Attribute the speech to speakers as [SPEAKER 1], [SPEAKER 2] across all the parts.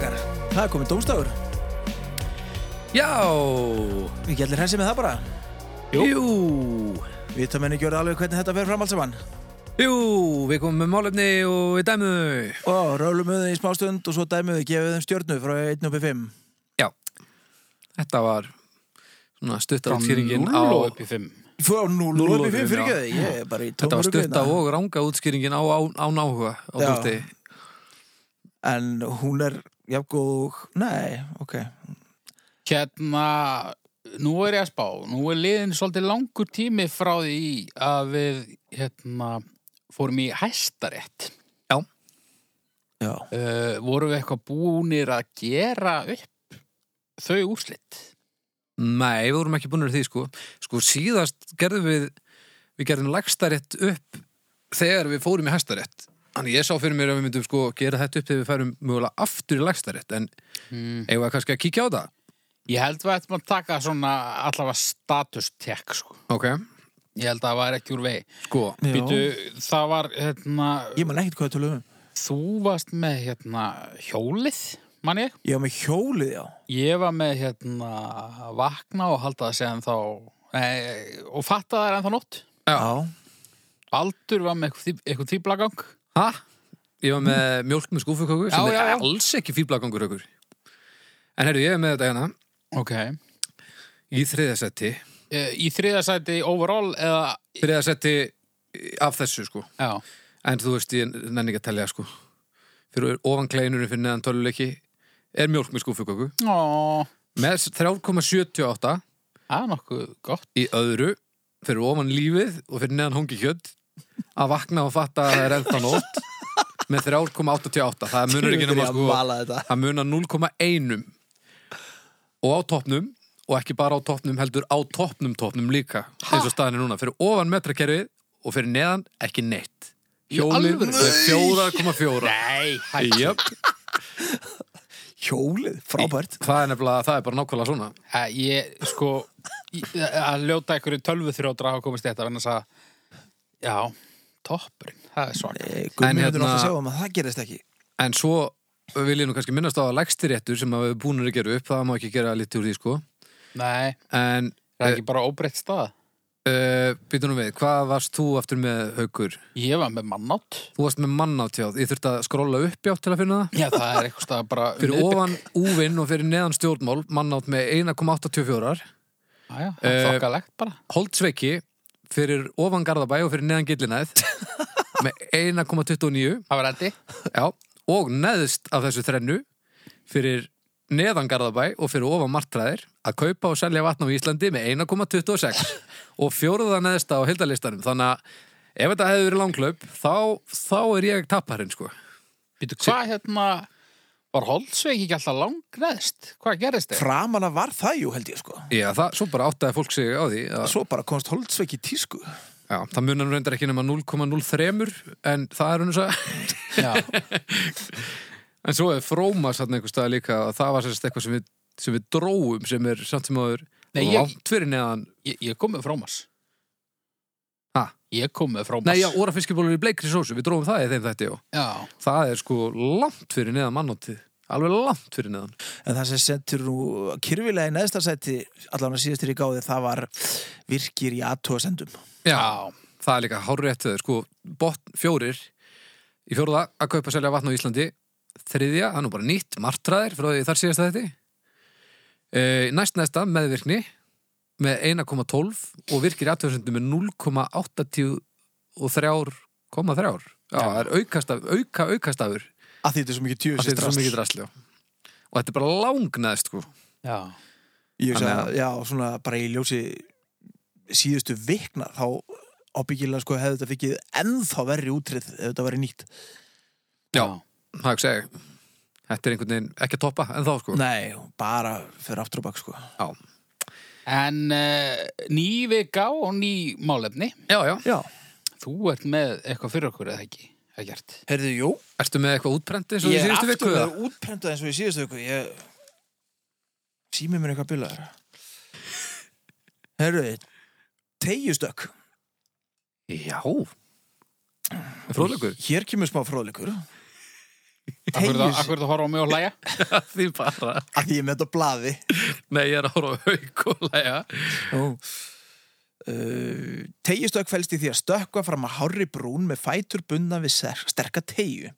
[SPEAKER 1] er komið dómstagur.
[SPEAKER 2] Já
[SPEAKER 1] Ekki allir hressi með það bara.
[SPEAKER 2] Jú Jú,
[SPEAKER 1] Við það menni gjörðu alveg hvernig þetta fer fram alls saman.
[SPEAKER 2] við komum með málefni og við dæmum þau
[SPEAKER 1] Og rálum við þeim í smástund og svo dæmum við, gefum þeim stjörnu frá 1 uppi 5.
[SPEAKER 2] Já Þetta var svona stutta útskýringin
[SPEAKER 3] Núl
[SPEAKER 2] á
[SPEAKER 3] og upp í fimm
[SPEAKER 1] Frá 0
[SPEAKER 2] Núll
[SPEAKER 1] uppi 5
[SPEAKER 2] upp í
[SPEAKER 1] fyrir
[SPEAKER 2] fimm,
[SPEAKER 1] ekki þið. Ég er bara í hérna.
[SPEAKER 2] Þetta
[SPEAKER 1] tómar
[SPEAKER 2] var stutta og ranga útskýringin á, á, á náhuga á
[SPEAKER 1] Já.
[SPEAKER 2] bústi
[SPEAKER 1] En hún er, já, góð, nei, ok.
[SPEAKER 3] Hérna, nú er ég að spá Nú er liðin svolítið langur tími frá því að við hérna, fórum í hæstarétt
[SPEAKER 1] Já.
[SPEAKER 3] uh, Vorum við eitthvað búnir að gera upp þau úrslit
[SPEAKER 2] Nei, við vorum ekki búinir því sko Sko síðast gerðum við við gerðum lagstarétt upp þegar við fórum í hæstarétt Þannig ég sá fyrir mér að við myndum sko gera þetta upp þegar við færum mögulega aftur í lagstarétt en
[SPEAKER 3] mm.
[SPEAKER 2] eigum við kannski að kíkja á það
[SPEAKER 3] Ég held við ættum að taka svona allavega statustek sko.
[SPEAKER 2] Ok,
[SPEAKER 3] Ég held að það var ekki úr vei
[SPEAKER 2] sko
[SPEAKER 1] Já.
[SPEAKER 3] Býtu, það var hérna,
[SPEAKER 1] Ég man ekkert hvað við tölum um.
[SPEAKER 3] þú varst með hérna, hjólið, mann ég
[SPEAKER 1] Ég var með hjólið, já.
[SPEAKER 3] Ég var með hérna vakna og halda það séðan þá nei, og fatta það er ennþá nótt.
[SPEAKER 2] Já.
[SPEAKER 3] Baldur var með eitthvað, því- eitthvað tvíblagang.
[SPEAKER 2] Hæ? Ég var með mjólk með skúfuköku sem
[SPEAKER 3] Já, já,
[SPEAKER 2] er
[SPEAKER 3] já.
[SPEAKER 2] alls ekki fýblagangur okkur En herru, ég er með þetta hérna
[SPEAKER 3] Ok.
[SPEAKER 2] í þriðasetti
[SPEAKER 3] Í þriða sæti overall eða,
[SPEAKER 2] Þriðasetti af þessu sko
[SPEAKER 3] já,
[SPEAKER 2] En þú veist, ég nenni ekki að tellja sko Fyrir ofan kleinurinn fyrir neðan töluleiki er mjólk með skúfuköku
[SPEAKER 3] ó,
[SPEAKER 2] með 3,78
[SPEAKER 3] það er nokkuð gott.
[SPEAKER 2] í öðru fyrir ofan lífið og fyrir neðan hóngi kjöld að vakna og fatta að það er ennþá nótt með 3,88 það munur ekki
[SPEAKER 1] Ég
[SPEAKER 2] nema
[SPEAKER 1] að
[SPEAKER 2] sko
[SPEAKER 1] mala þetta.
[SPEAKER 2] Það munar 0,1 og á toppnum og ekki bara á toppnum heldur á toppnum toppnum líka eins og staðan er núna fyrir ofan metrakerfið og fyrir neðan ekki neitt hjólið
[SPEAKER 3] alvöru?
[SPEAKER 2] er 4,4
[SPEAKER 3] Nei,
[SPEAKER 2] Jöp,
[SPEAKER 1] Hjólið, frábært.
[SPEAKER 2] það er nefnilega, það er bara nákvæmlega svona
[SPEAKER 3] Æ, Ég, sko, í- að ljóta einhverju tölvu þrjóðra hafa komist í þetta, vegna þess að, já, toppurinn, það er svaka.
[SPEAKER 1] Guðmund
[SPEAKER 2] En
[SPEAKER 1] er náttúrulega að
[SPEAKER 2] hérna-
[SPEAKER 1] segja um að það gerist ekki.
[SPEAKER 2] En svo vil ég nú kannski minnast á að lægstiréttur sem að við búinir að gera upp, það má ekki gera lítið úr því sko
[SPEAKER 3] Nei,
[SPEAKER 2] En,
[SPEAKER 3] það er ekki bara óbreytt staða.
[SPEAKER 2] uh, býtum nú við, hvað varst þú aftur með haukur?
[SPEAKER 3] Ég var með mannátt.
[SPEAKER 2] Þú varst með mannátjáð, ég þurfti að skrolla upp játt til að finna það
[SPEAKER 3] Já, það er eitthvað staða bara... um
[SPEAKER 2] fyrir
[SPEAKER 3] miðbik.
[SPEAKER 2] ofan úvinn og fyrir neðan stjórnmál mannátt með 1,84
[SPEAKER 3] Æja, það er
[SPEAKER 2] Eh,
[SPEAKER 3] þokkalegt bara.
[SPEAKER 2] Holtsveiki fyrir ofan Garðabæ og fyrir neðan Gillinæð með 1,29
[SPEAKER 3] Það var eddi.
[SPEAKER 2] já, og neðst af þessu þrennu fyrir neðan Garðabæ og fyrir ofan Martræðir að kaupa og selja vatn á Íslandi með 1,26 og fjóruða neðsta á hildalistanum þannig að ef þetta hefði verið langklaup þá, þá er ég tapparinn sko
[SPEAKER 3] Býtu, hvað hérna var Holtsveik ekki alltaf langneðst? Hvað gerist þið?
[SPEAKER 1] Framana var það, jú, held ég, sko.
[SPEAKER 2] Já, það, svo bara áttaði fólk sig á því að
[SPEAKER 1] Svo bara komst Holtzveik í tísku.
[SPEAKER 2] Já, það munar nú reyndar ekki nema 0,03 en það er hún svo
[SPEAKER 3] Já,
[SPEAKER 2] en svo er fróma satt einhver stað líka og það var sérst eitthvað sem við, sem við dróum sem er samt sem áður
[SPEAKER 3] Nei, ég-
[SPEAKER 2] langt fyrir neðan
[SPEAKER 3] ég, ég kom með frómas.
[SPEAKER 2] Ha?
[SPEAKER 3] Ég kom með frómas.
[SPEAKER 2] Nei, já, órafiskibólur í bleikri sósu, við dróum það í þeim þetta og
[SPEAKER 3] Já,
[SPEAKER 2] það er sko langt fyrir neðan mannóttið alveg langt fyrir neðan
[SPEAKER 1] En það sem sentur nú kyrfilega í neðsta sæti, allan að síðastir í gáði, það var virkir í aðtóa sendum.
[SPEAKER 3] já.
[SPEAKER 2] það er líka hárétt þau, sko, botn fjórir í fjóruða að kaupa selja vatn á Íslandi þriðja, það er nú bara nýtt martraðir frá því þar síðast að þetta næst næsta meðvirkni með 1,12 og virkir aðtöðsendum með 0,83,3 Já, það er aukastaf, auka aukastafur
[SPEAKER 1] Að því þetta er svo mikið
[SPEAKER 2] að þetta er svo
[SPEAKER 1] djöfisist
[SPEAKER 2] mikið drasli já. og þetta er bara langnaðist sko.
[SPEAKER 3] já.
[SPEAKER 1] Ég hugsa,
[SPEAKER 2] Þannig
[SPEAKER 1] að- já, svona bara í ljósi síðustu vikna, þá ábyggilega sko hefði þetta fikið ennþá verri útrið ef þetta verið nýtt.
[SPEAKER 2] Já. það er ekki að segja þetta er einhvern veginn ekki að toppa en þá sko.
[SPEAKER 1] Nei, bara fyrir aftur og bak sko.
[SPEAKER 2] já.
[SPEAKER 3] En uh, ný vika og ný málefni.
[SPEAKER 2] já, já,
[SPEAKER 1] Já.
[SPEAKER 3] Þú ert með eitthvað fyrir okkur eða ekki? Ekkert.
[SPEAKER 1] Heyrðu, jú.
[SPEAKER 2] ertu með eitthvað útprenti eins og í
[SPEAKER 1] Ég er
[SPEAKER 2] síðustu
[SPEAKER 1] aftur
[SPEAKER 2] viku? eða?
[SPEAKER 1] með útprentað eins og í síðustu viku. Ég... Sýmið mér eitthvað bilaður. Heyrðu, tegjustökk.
[SPEAKER 2] Já Fróðleikur
[SPEAKER 1] Hér kemur smá fróðleikur.
[SPEAKER 3] Akkur
[SPEAKER 1] Teygir sig.
[SPEAKER 3] er það að horfa á mig og hlæja?
[SPEAKER 2] því bara
[SPEAKER 1] að því ég er með þetta á blaði
[SPEAKER 2] Nei, ég er að horfa á haug og læja
[SPEAKER 1] uh, Tegjustökk fælst í því að stökkva fram að hárri brún með fætur bundna við ser- sterka tegju.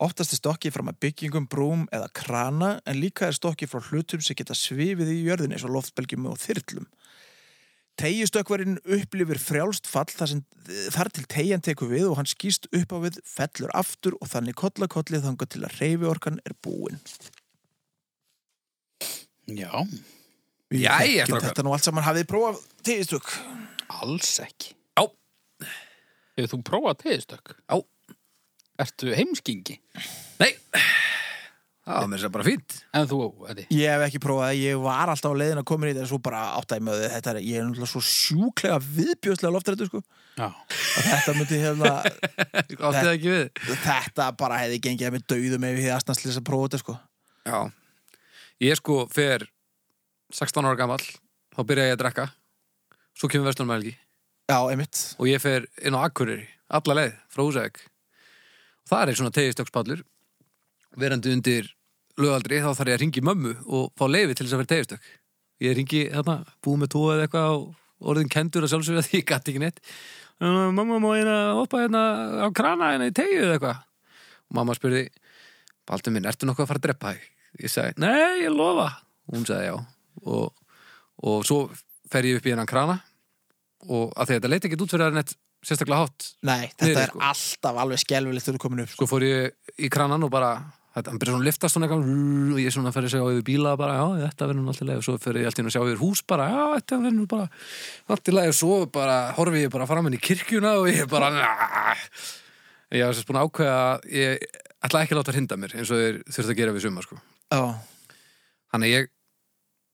[SPEAKER 1] Oftast er stokkið fram að byggingum, brúm eða krana en líka er stokkið frá hlutum sem geta svifið í jörðinni eins og loftbelgjum og þyrlum. Tegjustökkvarinn upplifir frjálst fall þar, sem, þar til tegjan tekur við og hann skýst upp á við, fellur aftur og þannig kollakollið þangað til að reyfiorkan er búin.
[SPEAKER 3] Já,
[SPEAKER 1] Við
[SPEAKER 2] Jæja,
[SPEAKER 1] þekkjum
[SPEAKER 2] strákar.
[SPEAKER 1] Þetta nú allt saman hafið prófað tegjustökk.
[SPEAKER 3] alls ekki.
[SPEAKER 2] Já.
[SPEAKER 3] Hefur þú prófað tegistökk?
[SPEAKER 2] Já.
[SPEAKER 3] Ertu heimskingi?
[SPEAKER 2] Nei, það var mér sér bara fínt
[SPEAKER 3] En þú, Eddi?
[SPEAKER 1] Ég hef ekki prófað það, ég var alltaf á leiðin að koma í þetta en svo bara áttæði með þetta er, ég er náttúrulega svo sjúklega viðbjóðslega loftrættu sko
[SPEAKER 3] Já.
[SPEAKER 1] að þetta myndi hérna
[SPEAKER 2] Átti það ekki við
[SPEAKER 1] þetta bara hefði gengið með dauðum ef ég hefði aðstæðslega að prófa þetta sko
[SPEAKER 2] Já, ég sko fer 16 ára gamall þá byrja ég að drekka svo kemur Vestlunum Helgi
[SPEAKER 1] Já, einmitt
[SPEAKER 2] og ég fer inn á Akureyri alla leið frá Húsæk og það er svona tegistökkspallur verandi undir lögaldri þá þarf ég að ringi mömmu og fá leifi til þess að vera tegistökk ég ringi þarna, búið með tóa eða eitthvað og orðin kendur að sjálfsögja því ég gæti ekki neitt "Uh, mamma má hérna hoppa hérna á krana hérna í tegju eða eitthvað og mamma spurði Baldur minn, ertu nokkuð að fara að drepa þig? Ég sagði, nei, ég lofa hún sagði já og, og svo fer ég upp í hennan krana og að því að þetta leiti ekkert út fyrir að neitt sérstaklega hátt,
[SPEAKER 1] Nei, þetta
[SPEAKER 2] Niðri,
[SPEAKER 1] er
[SPEAKER 2] sko.
[SPEAKER 1] alltaf alveg skelfilegt þegar þú komin upp sko
[SPEAKER 2] sko fór ég í kranan og bara, þetta, hann byrja svona að liftast svona eitthvað rrrr, og ég svona fer að sjá yfir bíla bara, já, þetta verður nú alltaf leið og svo fer ég alltaf að sjá yfir hús bara, já, þetta verður nú bara alltaf leið og svo bara horfi ég bara fram inn í kirkjuna og ég bara "Nah." ég var sérst búin að ákveða að ég ætla ekki að láta hrinda mér eins og þeir þurft að gera við suma, sko
[SPEAKER 1] Já,
[SPEAKER 2] Þannig að ég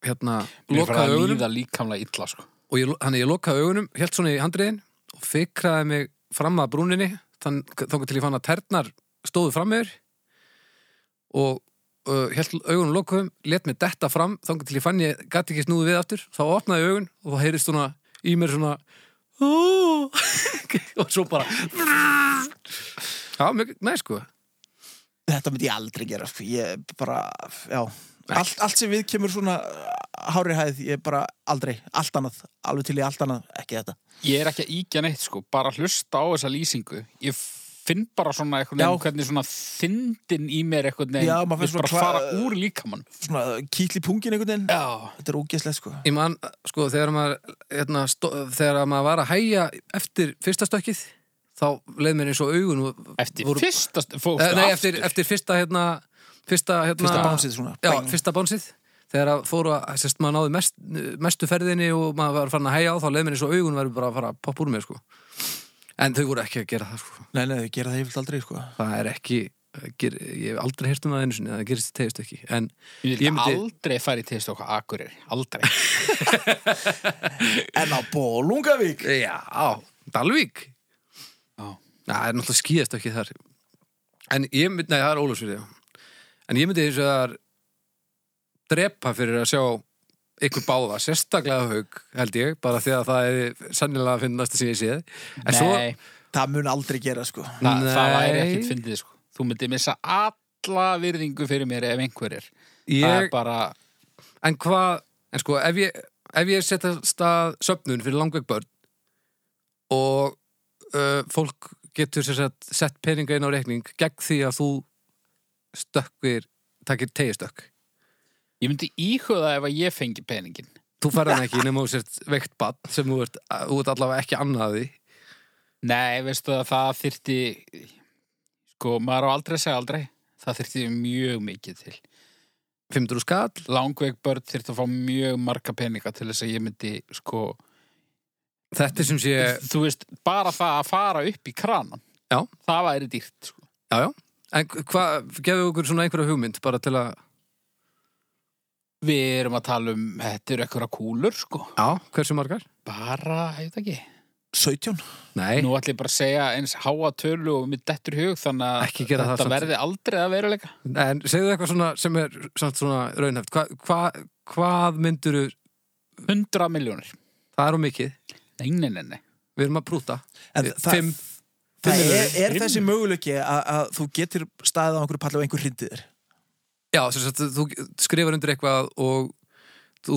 [SPEAKER 2] hérna,
[SPEAKER 3] Mér fyrir að
[SPEAKER 2] lokaði augunum
[SPEAKER 3] líða líkamlega illa, sko.
[SPEAKER 2] og ég, þannig að ég lokaði augunum, held svona í handriðin og fikraði mig fram að brúninni þann, þannig til ég fann að ternar stóðu fram meður og uh, held augunum lokuðum let mig detta fram, þannig til ég fann ég gæti ekki snúið við aftur, þá opnaði ég augun og þá heyrist svona í mér svona "Ó", og svo bara Já, mjög, nei sko
[SPEAKER 1] þetta myndi ég aldrei gera sko Ég bara, já Allt, allt sem við kemur svona uh, hári hæð, ég bara aldrei, allt annað alveg til í allt annað, ekki þetta
[SPEAKER 3] Ég er ekki að íkja neitt, sko. Bara hlusta á þessa lýsingu. Ég finn bara svona eitthvað
[SPEAKER 1] Já.
[SPEAKER 3] neginn, hvernig svona þindin í mér eitthvað neginn.
[SPEAKER 1] Já, maður finnst svona kla-
[SPEAKER 3] bara fara úr líkamann.
[SPEAKER 1] Svona kýtli pungin einhvern veginn
[SPEAKER 3] Já.
[SPEAKER 1] Þetta er ógeðslegt sko
[SPEAKER 2] Ég man, sko, þegar maður, hérna, stó, þegar maður var að hæja eftir fyrsta stökkið, þá leið mér eins og augun og...
[SPEAKER 3] Eftir
[SPEAKER 2] voru-
[SPEAKER 3] fyrsta... st- sko, Fókstu
[SPEAKER 2] Eh, Nei,
[SPEAKER 3] aftur.
[SPEAKER 2] eftir, eftir fyrsta, hérna, fyrsta, hérna...
[SPEAKER 1] Fyrsta bánsið svona
[SPEAKER 2] Já,
[SPEAKER 1] bang.
[SPEAKER 2] fyrsta bánsið. Þegar að fóru að, sérst, maður náði mest, mestu ferðinni og maður var farin að hæja á, þá leið mér eins og augun verður bara að fara að poppa úr mér, sko. En þau voru ekki að gera það, sko.
[SPEAKER 1] Nei, nei, þau gera það yfirlt aldrei, sko.
[SPEAKER 2] Það er ekki, það ger, ég hef aldrei heyrt um það einu sinni, það gerist í tegist ekki. En
[SPEAKER 3] Ég
[SPEAKER 2] Ég
[SPEAKER 3] vil
[SPEAKER 2] myndi-
[SPEAKER 3] aldrei fara í tegist okkar akurir. Aldrei.
[SPEAKER 1] En á Bólungavík?
[SPEAKER 2] Já, Dalvík
[SPEAKER 3] Já.
[SPEAKER 2] Næ, það er náttúrulega skýðast ekki þar En ég myndi, nei, það er Ólafsfyrði já. En ég myndi þess að það er drepa fyrir að sjá ykkur báða, sérstaklega haug held ég, bara því að það er sannilega að finnast sem ég séð En svo,
[SPEAKER 3] Nei,
[SPEAKER 1] Það mun aldrei gera, sko.
[SPEAKER 3] Þa, það væri
[SPEAKER 2] Nei.
[SPEAKER 3] ekkert fyndið sko. Þú myndir missa alla virðingu fyrir mér ef einhver er. Það er
[SPEAKER 2] ég,
[SPEAKER 3] bara,
[SPEAKER 2] en hvað en sko, ef ég, ef ég setja stað söfnun fyrir langveik börn og uh, fólk getur sér sett, sett peninga inn á reikning gegn því að þú stökkir, takir tegistökk
[SPEAKER 3] ég myndi íhuga ef að ég fengi peningin.
[SPEAKER 2] þú færði hann ekki nema þú sért veikt bann sem þú ert, þú ert allavega ekki annaði
[SPEAKER 3] Nei, veistu að það þyrti, sko, maður á aldrei að segja aldrei. Það þyrti mjög mikið til.
[SPEAKER 2] 500 skall
[SPEAKER 3] Langveik börn þyrti að fá mjög marga peninga til þess að ég myndi, sko,
[SPEAKER 2] þetta er sem sé,
[SPEAKER 3] þú veist, bara það að fara upp í kranan.
[SPEAKER 2] Eh. Já.
[SPEAKER 3] Það væri dýrt, sko.
[SPEAKER 2] já já en hvað, gefðu okkur svona einhverja hugmynd bara til að,
[SPEAKER 3] Við erum að tala um, þetta eru ekkur að kúlur, sko.
[SPEAKER 2] já, hversu margar?
[SPEAKER 3] Bara, ég veit ekki.
[SPEAKER 1] 17?
[SPEAKER 2] Nei,
[SPEAKER 3] Nú ætlum ég bara að segja eins háa tölu og mitt dettur í hug þannig að
[SPEAKER 2] Ekki gera það
[SPEAKER 3] þetta
[SPEAKER 2] samt.
[SPEAKER 3] verði aldrei að veruleika.
[SPEAKER 2] en segðu eitthvað svona sem er samt svona raunhæft hva, hva, hvað mynduru,
[SPEAKER 3] 100 miljónir.
[SPEAKER 2] það er á mikið
[SPEAKER 3] Nei, nei, nei, nei.
[SPEAKER 2] við erum að prúta
[SPEAKER 1] En
[SPEAKER 2] Eh,
[SPEAKER 1] það,
[SPEAKER 2] fimm.
[SPEAKER 1] Það
[SPEAKER 3] Finnurðu
[SPEAKER 1] er, er
[SPEAKER 3] hinn?
[SPEAKER 1] þessi möguleiki að, að þú getur staðið á einhverju palli og einhver hrindiðir
[SPEAKER 2] Já, sem sagt, þú skrifar undir eitthvað og þú,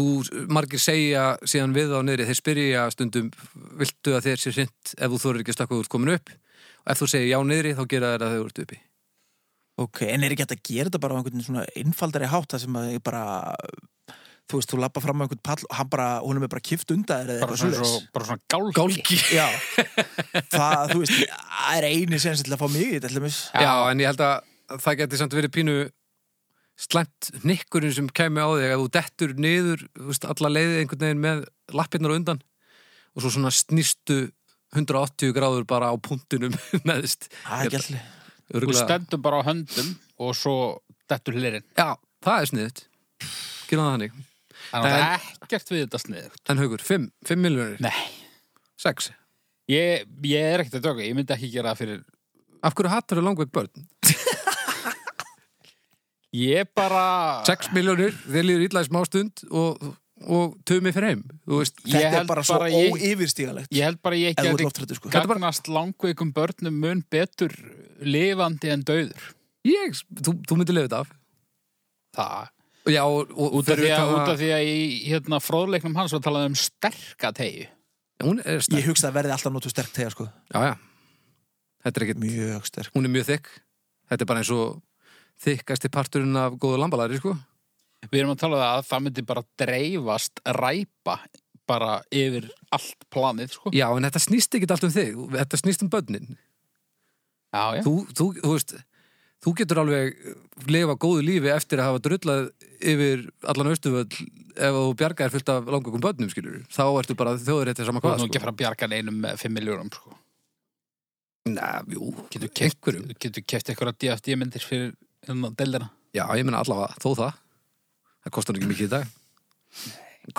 [SPEAKER 2] margir segja síðan við á niðri, þeir spyrja stundum viltu að þér sé sint ef þú þorir ekki að stakka út komin upp og ef þú segir já niðri þá gera þær að þau ert uppi
[SPEAKER 1] Ok, en er ekki hægt að gera þetta bara á einhvern svona innfaldari hátt það sem að ég bara þú veist, þú lappa fram á einhvern pall og hann bara, hún er bara kift undan þér eða
[SPEAKER 3] bara
[SPEAKER 1] eitthvað
[SPEAKER 3] svona,
[SPEAKER 1] svoleiðis
[SPEAKER 3] svo, bara svona gálgi.
[SPEAKER 2] Gálgi
[SPEAKER 1] Já, það, þú veist, það er eini sem til að fá mig í þetta, allumis
[SPEAKER 2] já. en ég held að það geti samt verið pínu slæmt nikkurinn sem kæmi á þig ef þú dettur niður þú veist, alla leiðið einhvern veginn með lappirnar á undan og svo svona snýstu 180 gráður bara á puntinum neðist
[SPEAKER 1] Það er ekki allir
[SPEAKER 3] Þú
[SPEAKER 2] Örugglega-
[SPEAKER 3] stendur bara á höndum og svo dettur hlirinn.
[SPEAKER 2] Já, það er sniðut Gerðan það þannig
[SPEAKER 3] Þannig að það er ekkert við þetta sniður.
[SPEAKER 2] En haugur, 5, 5 miljonir,
[SPEAKER 3] Nei.
[SPEAKER 2] 6
[SPEAKER 3] Ég, ég er ekkert að döga, ég myndi ekki gera það fyrir...
[SPEAKER 2] Af hverju hattar þau langveg börn?
[SPEAKER 3] Ég bara...
[SPEAKER 2] 6 miljonir, þeir líður illa í smá stund og, og tumi fyrir heim Þú veist,
[SPEAKER 3] Ég
[SPEAKER 1] Þetta er
[SPEAKER 3] held
[SPEAKER 1] bara svo
[SPEAKER 3] bara ég-
[SPEAKER 1] óyfirstígalegt
[SPEAKER 3] Ég held bara ég
[SPEAKER 1] Ef þú ert
[SPEAKER 3] geti
[SPEAKER 1] loftrættu, sko
[SPEAKER 3] gagnast langveikum börnum mun betur lifandi en dauður.
[SPEAKER 2] ég, þú, þú myndir lifa þetta af
[SPEAKER 3] Það.
[SPEAKER 2] Já, og, og
[SPEAKER 3] Út af, því að,
[SPEAKER 2] utan
[SPEAKER 3] út af því að í hérna, fróðleiknum hans var talað um sterka tegi.
[SPEAKER 2] Hún er
[SPEAKER 1] Ég
[SPEAKER 2] sterk,
[SPEAKER 1] hugsa að verði alltaf notu sterk tegar, sko
[SPEAKER 2] já, já Þetta er ekkit,
[SPEAKER 1] Mjög sterk
[SPEAKER 2] hún er mjög þykk Þetta er bara eins og þykkasti parturinn af góðu lambalari, sko
[SPEAKER 3] Við erum að tala um það að það myndi bara dreifast, ræpa bara yfir allt planið, sko.
[SPEAKER 2] Já, en þetta snýst ekkit allt um þig Þetta snýst um börnin
[SPEAKER 3] Já, já.
[SPEAKER 2] þú, þú, þú veist þú getur alveg lifa góðu lífi eftir að hafa drullað yfir allan austuföll ef þú bjargar fullt af langökum börnum skilur þá ertu bara þjóður þetta sama
[SPEAKER 3] Þú ert
[SPEAKER 2] hvað sko.
[SPEAKER 3] nú ekki að fara að bjarga neinum með 5 miljónum, sko.
[SPEAKER 2] Nei, jú,
[SPEAKER 3] Getur keft,
[SPEAKER 2] einhverjum
[SPEAKER 3] getur keft eitthvað DFD-myndir fyrir hérna deildina.
[SPEAKER 2] Já, ég meina allavega, þó það það kostar ekki mikið í dag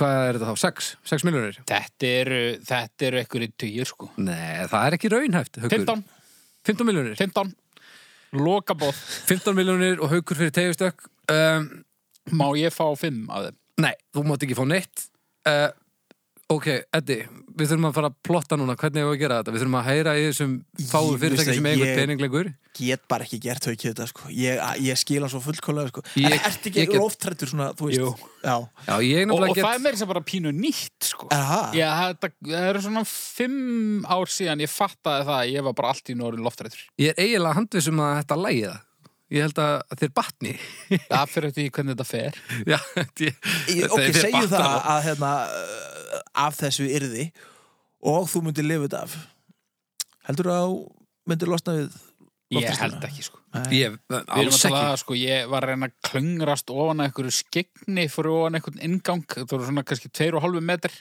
[SPEAKER 2] Hvað er þetta þá? 6? 6 miljonir?
[SPEAKER 3] Þetta eru, þetta eru eitthvað í týjur, sko.
[SPEAKER 2] Nei, það er ekki raunhæft Haukur.
[SPEAKER 3] 15,
[SPEAKER 2] 15 miljonir
[SPEAKER 3] 15, lokabóð.
[SPEAKER 2] 15 miljonir og haukur fyrir tegjustökk um,
[SPEAKER 3] Má ég fá 5 af þeim?
[SPEAKER 2] Nei, þú mátt ekki fá neitt uh, Ok, Eddi, við þurfum að fara að plotta núna hvernig eigum við að gera þetta, við þurfum að heyra í þessum fáu
[SPEAKER 1] Ég-
[SPEAKER 2] fyrirtæki
[SPEAKER 1] veistu,
[SPEAKER 2] sem eigum
[SPEAKER 1] ég-
[SPEAKER 2] peninglegur
[SPEAKER 1] Get bara ekki gert haukið þetta, sko Ég, ég skil hann svo fullkólega, sko
[SPEAKER 2] Ég-
[SPEAKER 1] En ert ekki
[SPEAKER 2] ég get-
[SPEAKER 1] loftrættur svona, þú veist
[SPEAKER 3] Jú.
[SPEAKER 1] Já,
[SPEAKER 2] Já, ég
[SPEAKER 3] Og, og
[SPEAKER 2] nefnilega
[SPEAKER 3] það er
[SPEAKER 2] get
[SPEAKER 3] meira sem bara pínu nýtt, sko.
[SPEAKER 1] er það?
[SPEAKER 3] Já, þetta, það eru svona fimm ár síðan ég fattaði það að ég var bara allt í norðin loftrættur.
[SPEAKER 2] Ég er eiginlega handvissum að þetta lægi það Ég held að þeir batni
[SPEAKER 3] Það fyrir eftir því hvernig þetta fer.
[SPEAKER 2] Já, þetta
[SPEAKER 1] Ég-
[SPEAKER 2] þetta-
[SPEAKER 1] ok,
[SPEAKER 2] þeir
[SPEAKER 1] segjum
[SPEAKER 2] batna.
[SPEAKER 1] það að hérna, uh, af þessu yrði og þú myndir lifa þetta af heldur þú að þú myndir losna við
[SPEAKER 3] Ég held ekki, sko.
[SPEAKER 2] Ég,
[SPEAKER 3] Við erum að
[SPEAKER 2] alls
[SPEAKER 3] tala,
[SPEAKER 2] ekki
[SPEAKER 3] sko, ég var að reyna að klöngrast ofan að einhverju skegni fyrir ofan einhvern ingang, það voru svona kannski tveir og hálfu metr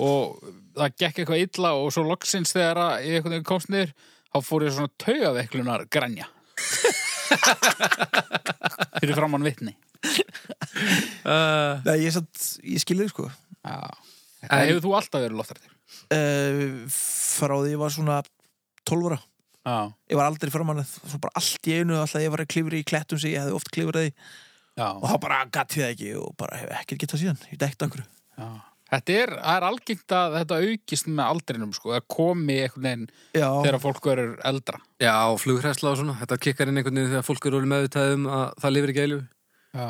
[SPEAKER 3] og það gekk eitthvað illa og svo loksins þegar að ég einhvern veginn komst niður, þá fór ég svona taugaveiklunar grænja. fyrir framann vitni.
[SPEAKER 2] uh,
[SPEAKER 1] Nei, ég, satt, ég skil þig sko
[SPEAKER 3] Já.
[SPEAKER 2] En-
[SPEAKER 3] Það hefur þú alltaf verið loftrættur.
[SPEAKER 1] uh, frá því ég var svona 12 ára
[SPEAKER 3] Já.
[SPEAKER 1] ég var aldrei framannið svo bara allt í einu alltaf ég var að klifra í klettum sem ég hefði oft klifraði
[SPEAKER 3] Já.
[SPEAKER 1] og þá bara gati það ekki og bara hef ekkert getað síðan ég dekta okkur
[SPEAKER 3] Já. Þetta er, það er algengt að þetta aukist með aldrinum, sko, að komi einhvern veginn
[SPEAKER 1] já,
[SPEAKER 3] þegar fólk verður eldra.
[SPEAKER 2] Já, flughræsla og svona Þetta kikkar inn einhvern veginn þegar fólk eru meðutæðum að það lifir ekki eilu
[SPEAKER 3] Já.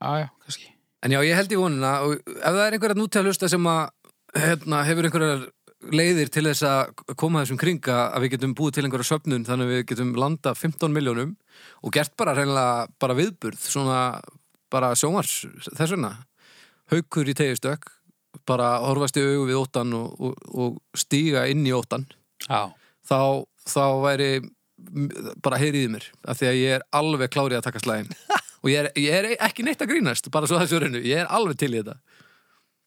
[SPEAKER 3] Já, já, kannski.
[SPEAKER 2] En já, ég held í vonuna og ef það er einhverja nútíða hlusta sem að hérna, hefur einhverjar leiðir til þess að koma þessum kringa að við getum búið til einhverja söfnun þannig að við getum landa 15 miljónum og gert bara reynilega bara viðburð svona bara sjómars þess vegna haukur í tegjustökk bara horfast í augu við óttan og, og, og stíga inn í óttan
[SPEAKER 3] Já.
[SPEAKER 2] þá, þá væri m- bara heyriði mér, af því að ég er alveg klárið að taka slæðin og ég er, ég er ekki neitt að grínast, bara svo þessu rauninu ég er alveg til í þetta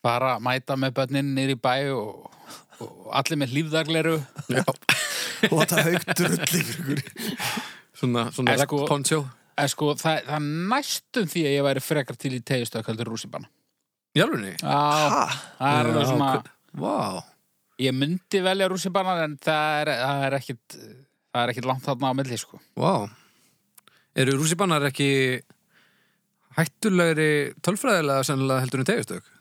[SPEAKER 3] Bara mæta með börnin nýri bæ og, og allir með hlýfðargleru.
[SPEAKER 2] Já.
[SPEAKER 1] og það haug drull yfir ykkur
[SPEAKER 2] svona, svona
[SPEAKER 3] En sko-
[SPEAKER 2] poncho
[SPEAKER 3] En sko, það, það er næstum því að ég væri frekar til í tegjustökk heldur rússipanna.
[SPEAKER 2] Jálfunni?
[SPEAKER 3] Já,
[SPEAKER 1] ha,
[SPEAKER 3] það er alveg svona,
[SPEAKER 2] Vá,
[SPEAKER 3] ég myndi velja rússipanna en það er, það er ekkit, það er ekkit langt þarna á milli, sko.
[SPEAKER 2] vá Eru rússipannar ekki hættulegri tölfræðilega sennilega heldur en tegjastök?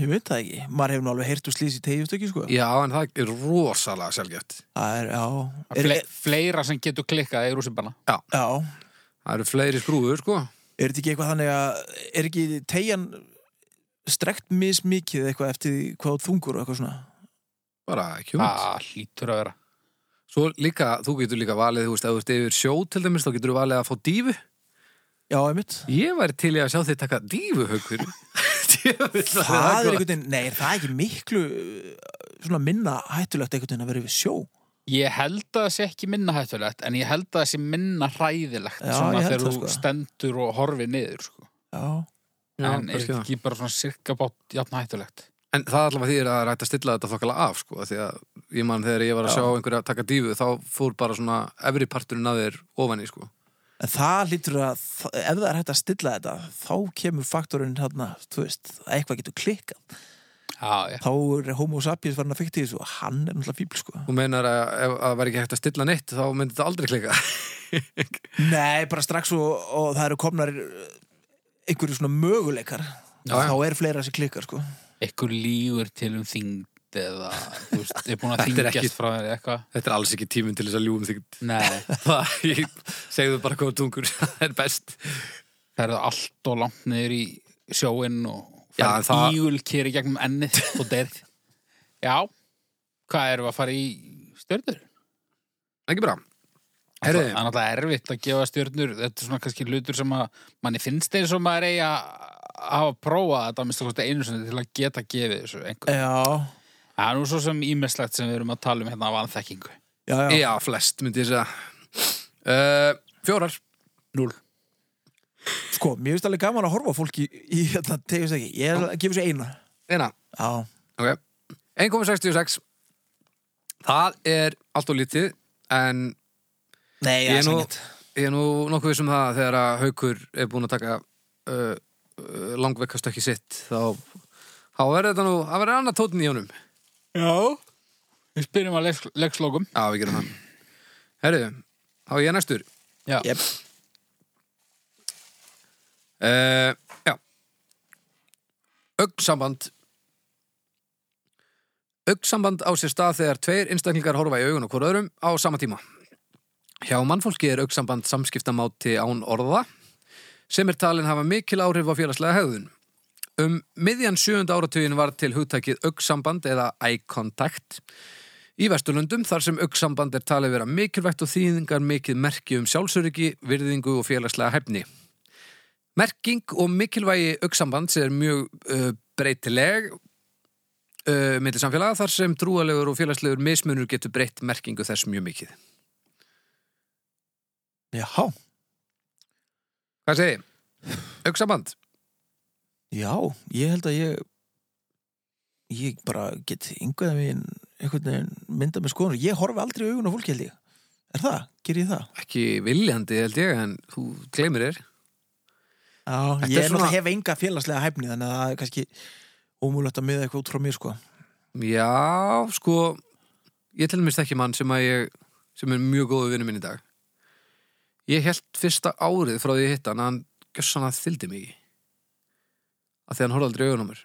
[SPEAKER 1] Ég veit það ekki, maður hefur nú alveg heyrt úr slís í tegjustöki sko
[SPEAKER 2] Já, en það er rosalega selgjöft.
[SPEAKER 1] Það er, já er,
[SPEAKER 3] Fle fleira sem getur klikkað í rússimbana
[SPEAKER 1] Já,
[SPEAKER 2] Það eru fleiri skrúður, sko.
[SPEAKER 1] er þetta ekki eitthvað þannig að er ekki tegjan strekt mismikið eitthvað eftir því hvað þú þungur og eitthvað svona
[SPEAKER 2] Bara ekki um.
[SPEAKER 3] það hlýtur að vera
[SPEAKER 2] Svo líka, þú getur líka valið, þú veist, ef þú ert yfir sjó til dæmis, þá getur þú valið að fá dífu.
[SPEAKER 1] Já, einmitt
[SPEAKER 2] Ég væri til í að sjá þið taka dífuhaukur.
[SPEAKER 1] Það, er einhvern veginn, nei, er það er ekki miklu uh, svona minna hættulegt einhvern veginn að vera yfir sjó
[SPEAKER 3] Ég held að það sé ekki minna hættulegt en ég held að það sé minna hræðilegt
[SPEAKER 1] Já,
[SPEAKER 3] svona
[SPEAKER 1] ég held
[SPEAKER 3] þegar
[SPEAKER 1] það,
[SPEAKER 3] þú
[SPEAKER 1] sko.
[SPEAKER 3] stendur og horfið niður sko.
[SPEAKER 1] Já,
[SPEAKER 3] en er þetta ekki bara svona cirka bát jafn hættulegt
[SPEAKER 2] En það allavega þýðir að rætt að stilla þetta þokkala af sko, af því að ég man þegar ég var að
[SPEAKER 1] Já.
[SPEAKER 2] sjá einhverja taka dífu þá fór bara svona efri parturinn að þér ofan í sko.
[SPEAKER 1] en það lítur að þa- ef það er hægt að stilla þetta þá kemur faktorinn hérna, þú veist að eitthvað getur klikkað
[SPEAKER 3] Já, já,
[SPEAKER 1] þá er homo sapiens farin að fykti þessu og hann er náttúrulega fíbl sko
[SPEAKER 2] Þú meinar að ef að það væri ekki hægt að stilla neitt þá myndi þetta aldrei klika.
[SPEAKER 1] Nei, bara strax og, og það eru komnar uh, einhverju svona möguleikar
[SPEAKER 2] Já, já.
[SPEAKER 1] þá er fleira sem klikkar sko
[SPEAKER 3] einhver lígur til um þyngd eða, þú veist, er búin að
[SPEAKER 2] Þetta er
[SPEAKER 3] þyngjast
[SPEAKER 2] ekki-
[SPEAKER 3] frá þér eða eitthvað
[SPEAKER 2] þetta er alls ekki tíminn til þess að ljúum þig.
[SPEAKER 3] Nei,
[SPEAKER 2] Það, ég segðu bara hvað tungur, það er best.
[SPEAKER 3] það eru allt og langt niður í sjóinn og
[SPEAKER 2] Já,
[SPEAKER 3] fara
[SPEAKER 2] en það-
[SPEAKER 3] ígulkeri gegnum ennið og derð Já, hvað erum við að fara í stjörnur?
[SPEAKER 2] Ekki bra.
[SPEAKER 3] Það
[SPEAKER 2] Herri,
[SPEAKER 3] er náttúrulega erfitt að gefa stjörnur Þetta er svona kannski hlutur sem að manni finnst eins og maður eigi að hafa prófað þetta að minnst okkur einu sinni til að geta gefið þessu einhver.
[SPEAKER 1] Já,
[SPEAKER 3] Það er nú svo sem ímestlegt sem við erum að tala um hérna af anþekkingu.
[SPEAKER 1] já, já,
[SPEAKER 2] já, flest myndi ég segja. Uh, fjórar.
[SPEAKER 3] Núl.
[SPEAKER 1] sko, mér finnst alveg gaman að horfa á fólki í, í hérna, tegist ekki, ég er að gefa sér eina
[SPEAKER 2] Eina.
[SPEAKER 1] Já,
[SPEAKER 2] Ok, 1,66 Það er allt og lítið en
[SPEAKER 1] nei,
[SPEAKER 2] Ég
[SPEAKER 1] ég
[SPEAKER 2] er
[SPEAKER 1] er
[SPEAKER 2] nú-
[SPEAKER 1] sanget
[SPEAKER 2] ég er nú nokkuð vissum það að þegar að haukur er búin að taka uh, uh, langveikast ekki sitt þá, þá verður þetta nú það verður annað tótin í honum Já,
[SPEAKER 3] Já. Við spyrjum að leiks- leikslokum.
[SPEAKER 2] við gerum það Herriðu, þá er ég næstur
[SPEAKER 3] Já.
[SPEAKER 1] yep.
[SPEAKER 2] uh, Já Ögnsamband Ögnsamband á sér stað þegar tveir einstaklingar horfa í augun og hvort öðrum á sama tíma. Hjá mannfólki er auksamband samskiptamáti án orða sem er talin hafa mikil áhrif á félagslega hegðun. Um miðjan 7. áratugin var til hugtækið auksamband eða eye contact í Vesturlundum þar sem auksamband er talið vera mikilvægt og þýðingar mikið merki um sjálfsöryggi, virðingu og félagslega hefni. Merking og mikilvægi auksambands er mjög uh, breytileg uh, millir samfélaga þar sem trúalegur og félagslegur mismunur getur breytt merkingu þess mjög mikið.
[SPEAKER 1] Já,
[SPEAKER 2] Hvað segir? Auksamband?
[SPEAKER 1] já, ég held að ég ég bara get einhvern veginn, einhvern veginn mynda með skoðunum, ég horfi aldrei í augun á fólki held ég Er það? Ger ég það?
[SPEAKER 2] Ekki viljandi held ég en þú gleymir þér.
[SPEAKER 1] Já,
[SPEAKER 2] Þetta
[SPEAKER 1] ég
[SPEAKER 2] er
[SPEAKER 1] er
[SPEAKER 2] svona-
[SPEAKER 1] náttúrulega hef enga félagslega hæfni þannig að það er kannski ómúlegt að miða eitthvað út frá mér sko
[SPEAKER 2] Já, sko, ég til minnst ekki mann sem, að ég, sem er mjög góðu vinnu minn í dag. Ég held fyrsta árið frá því ég hitt hann að hann gjössan að þyldi mikið. Af því að hann horfði aldrei í augun á mér.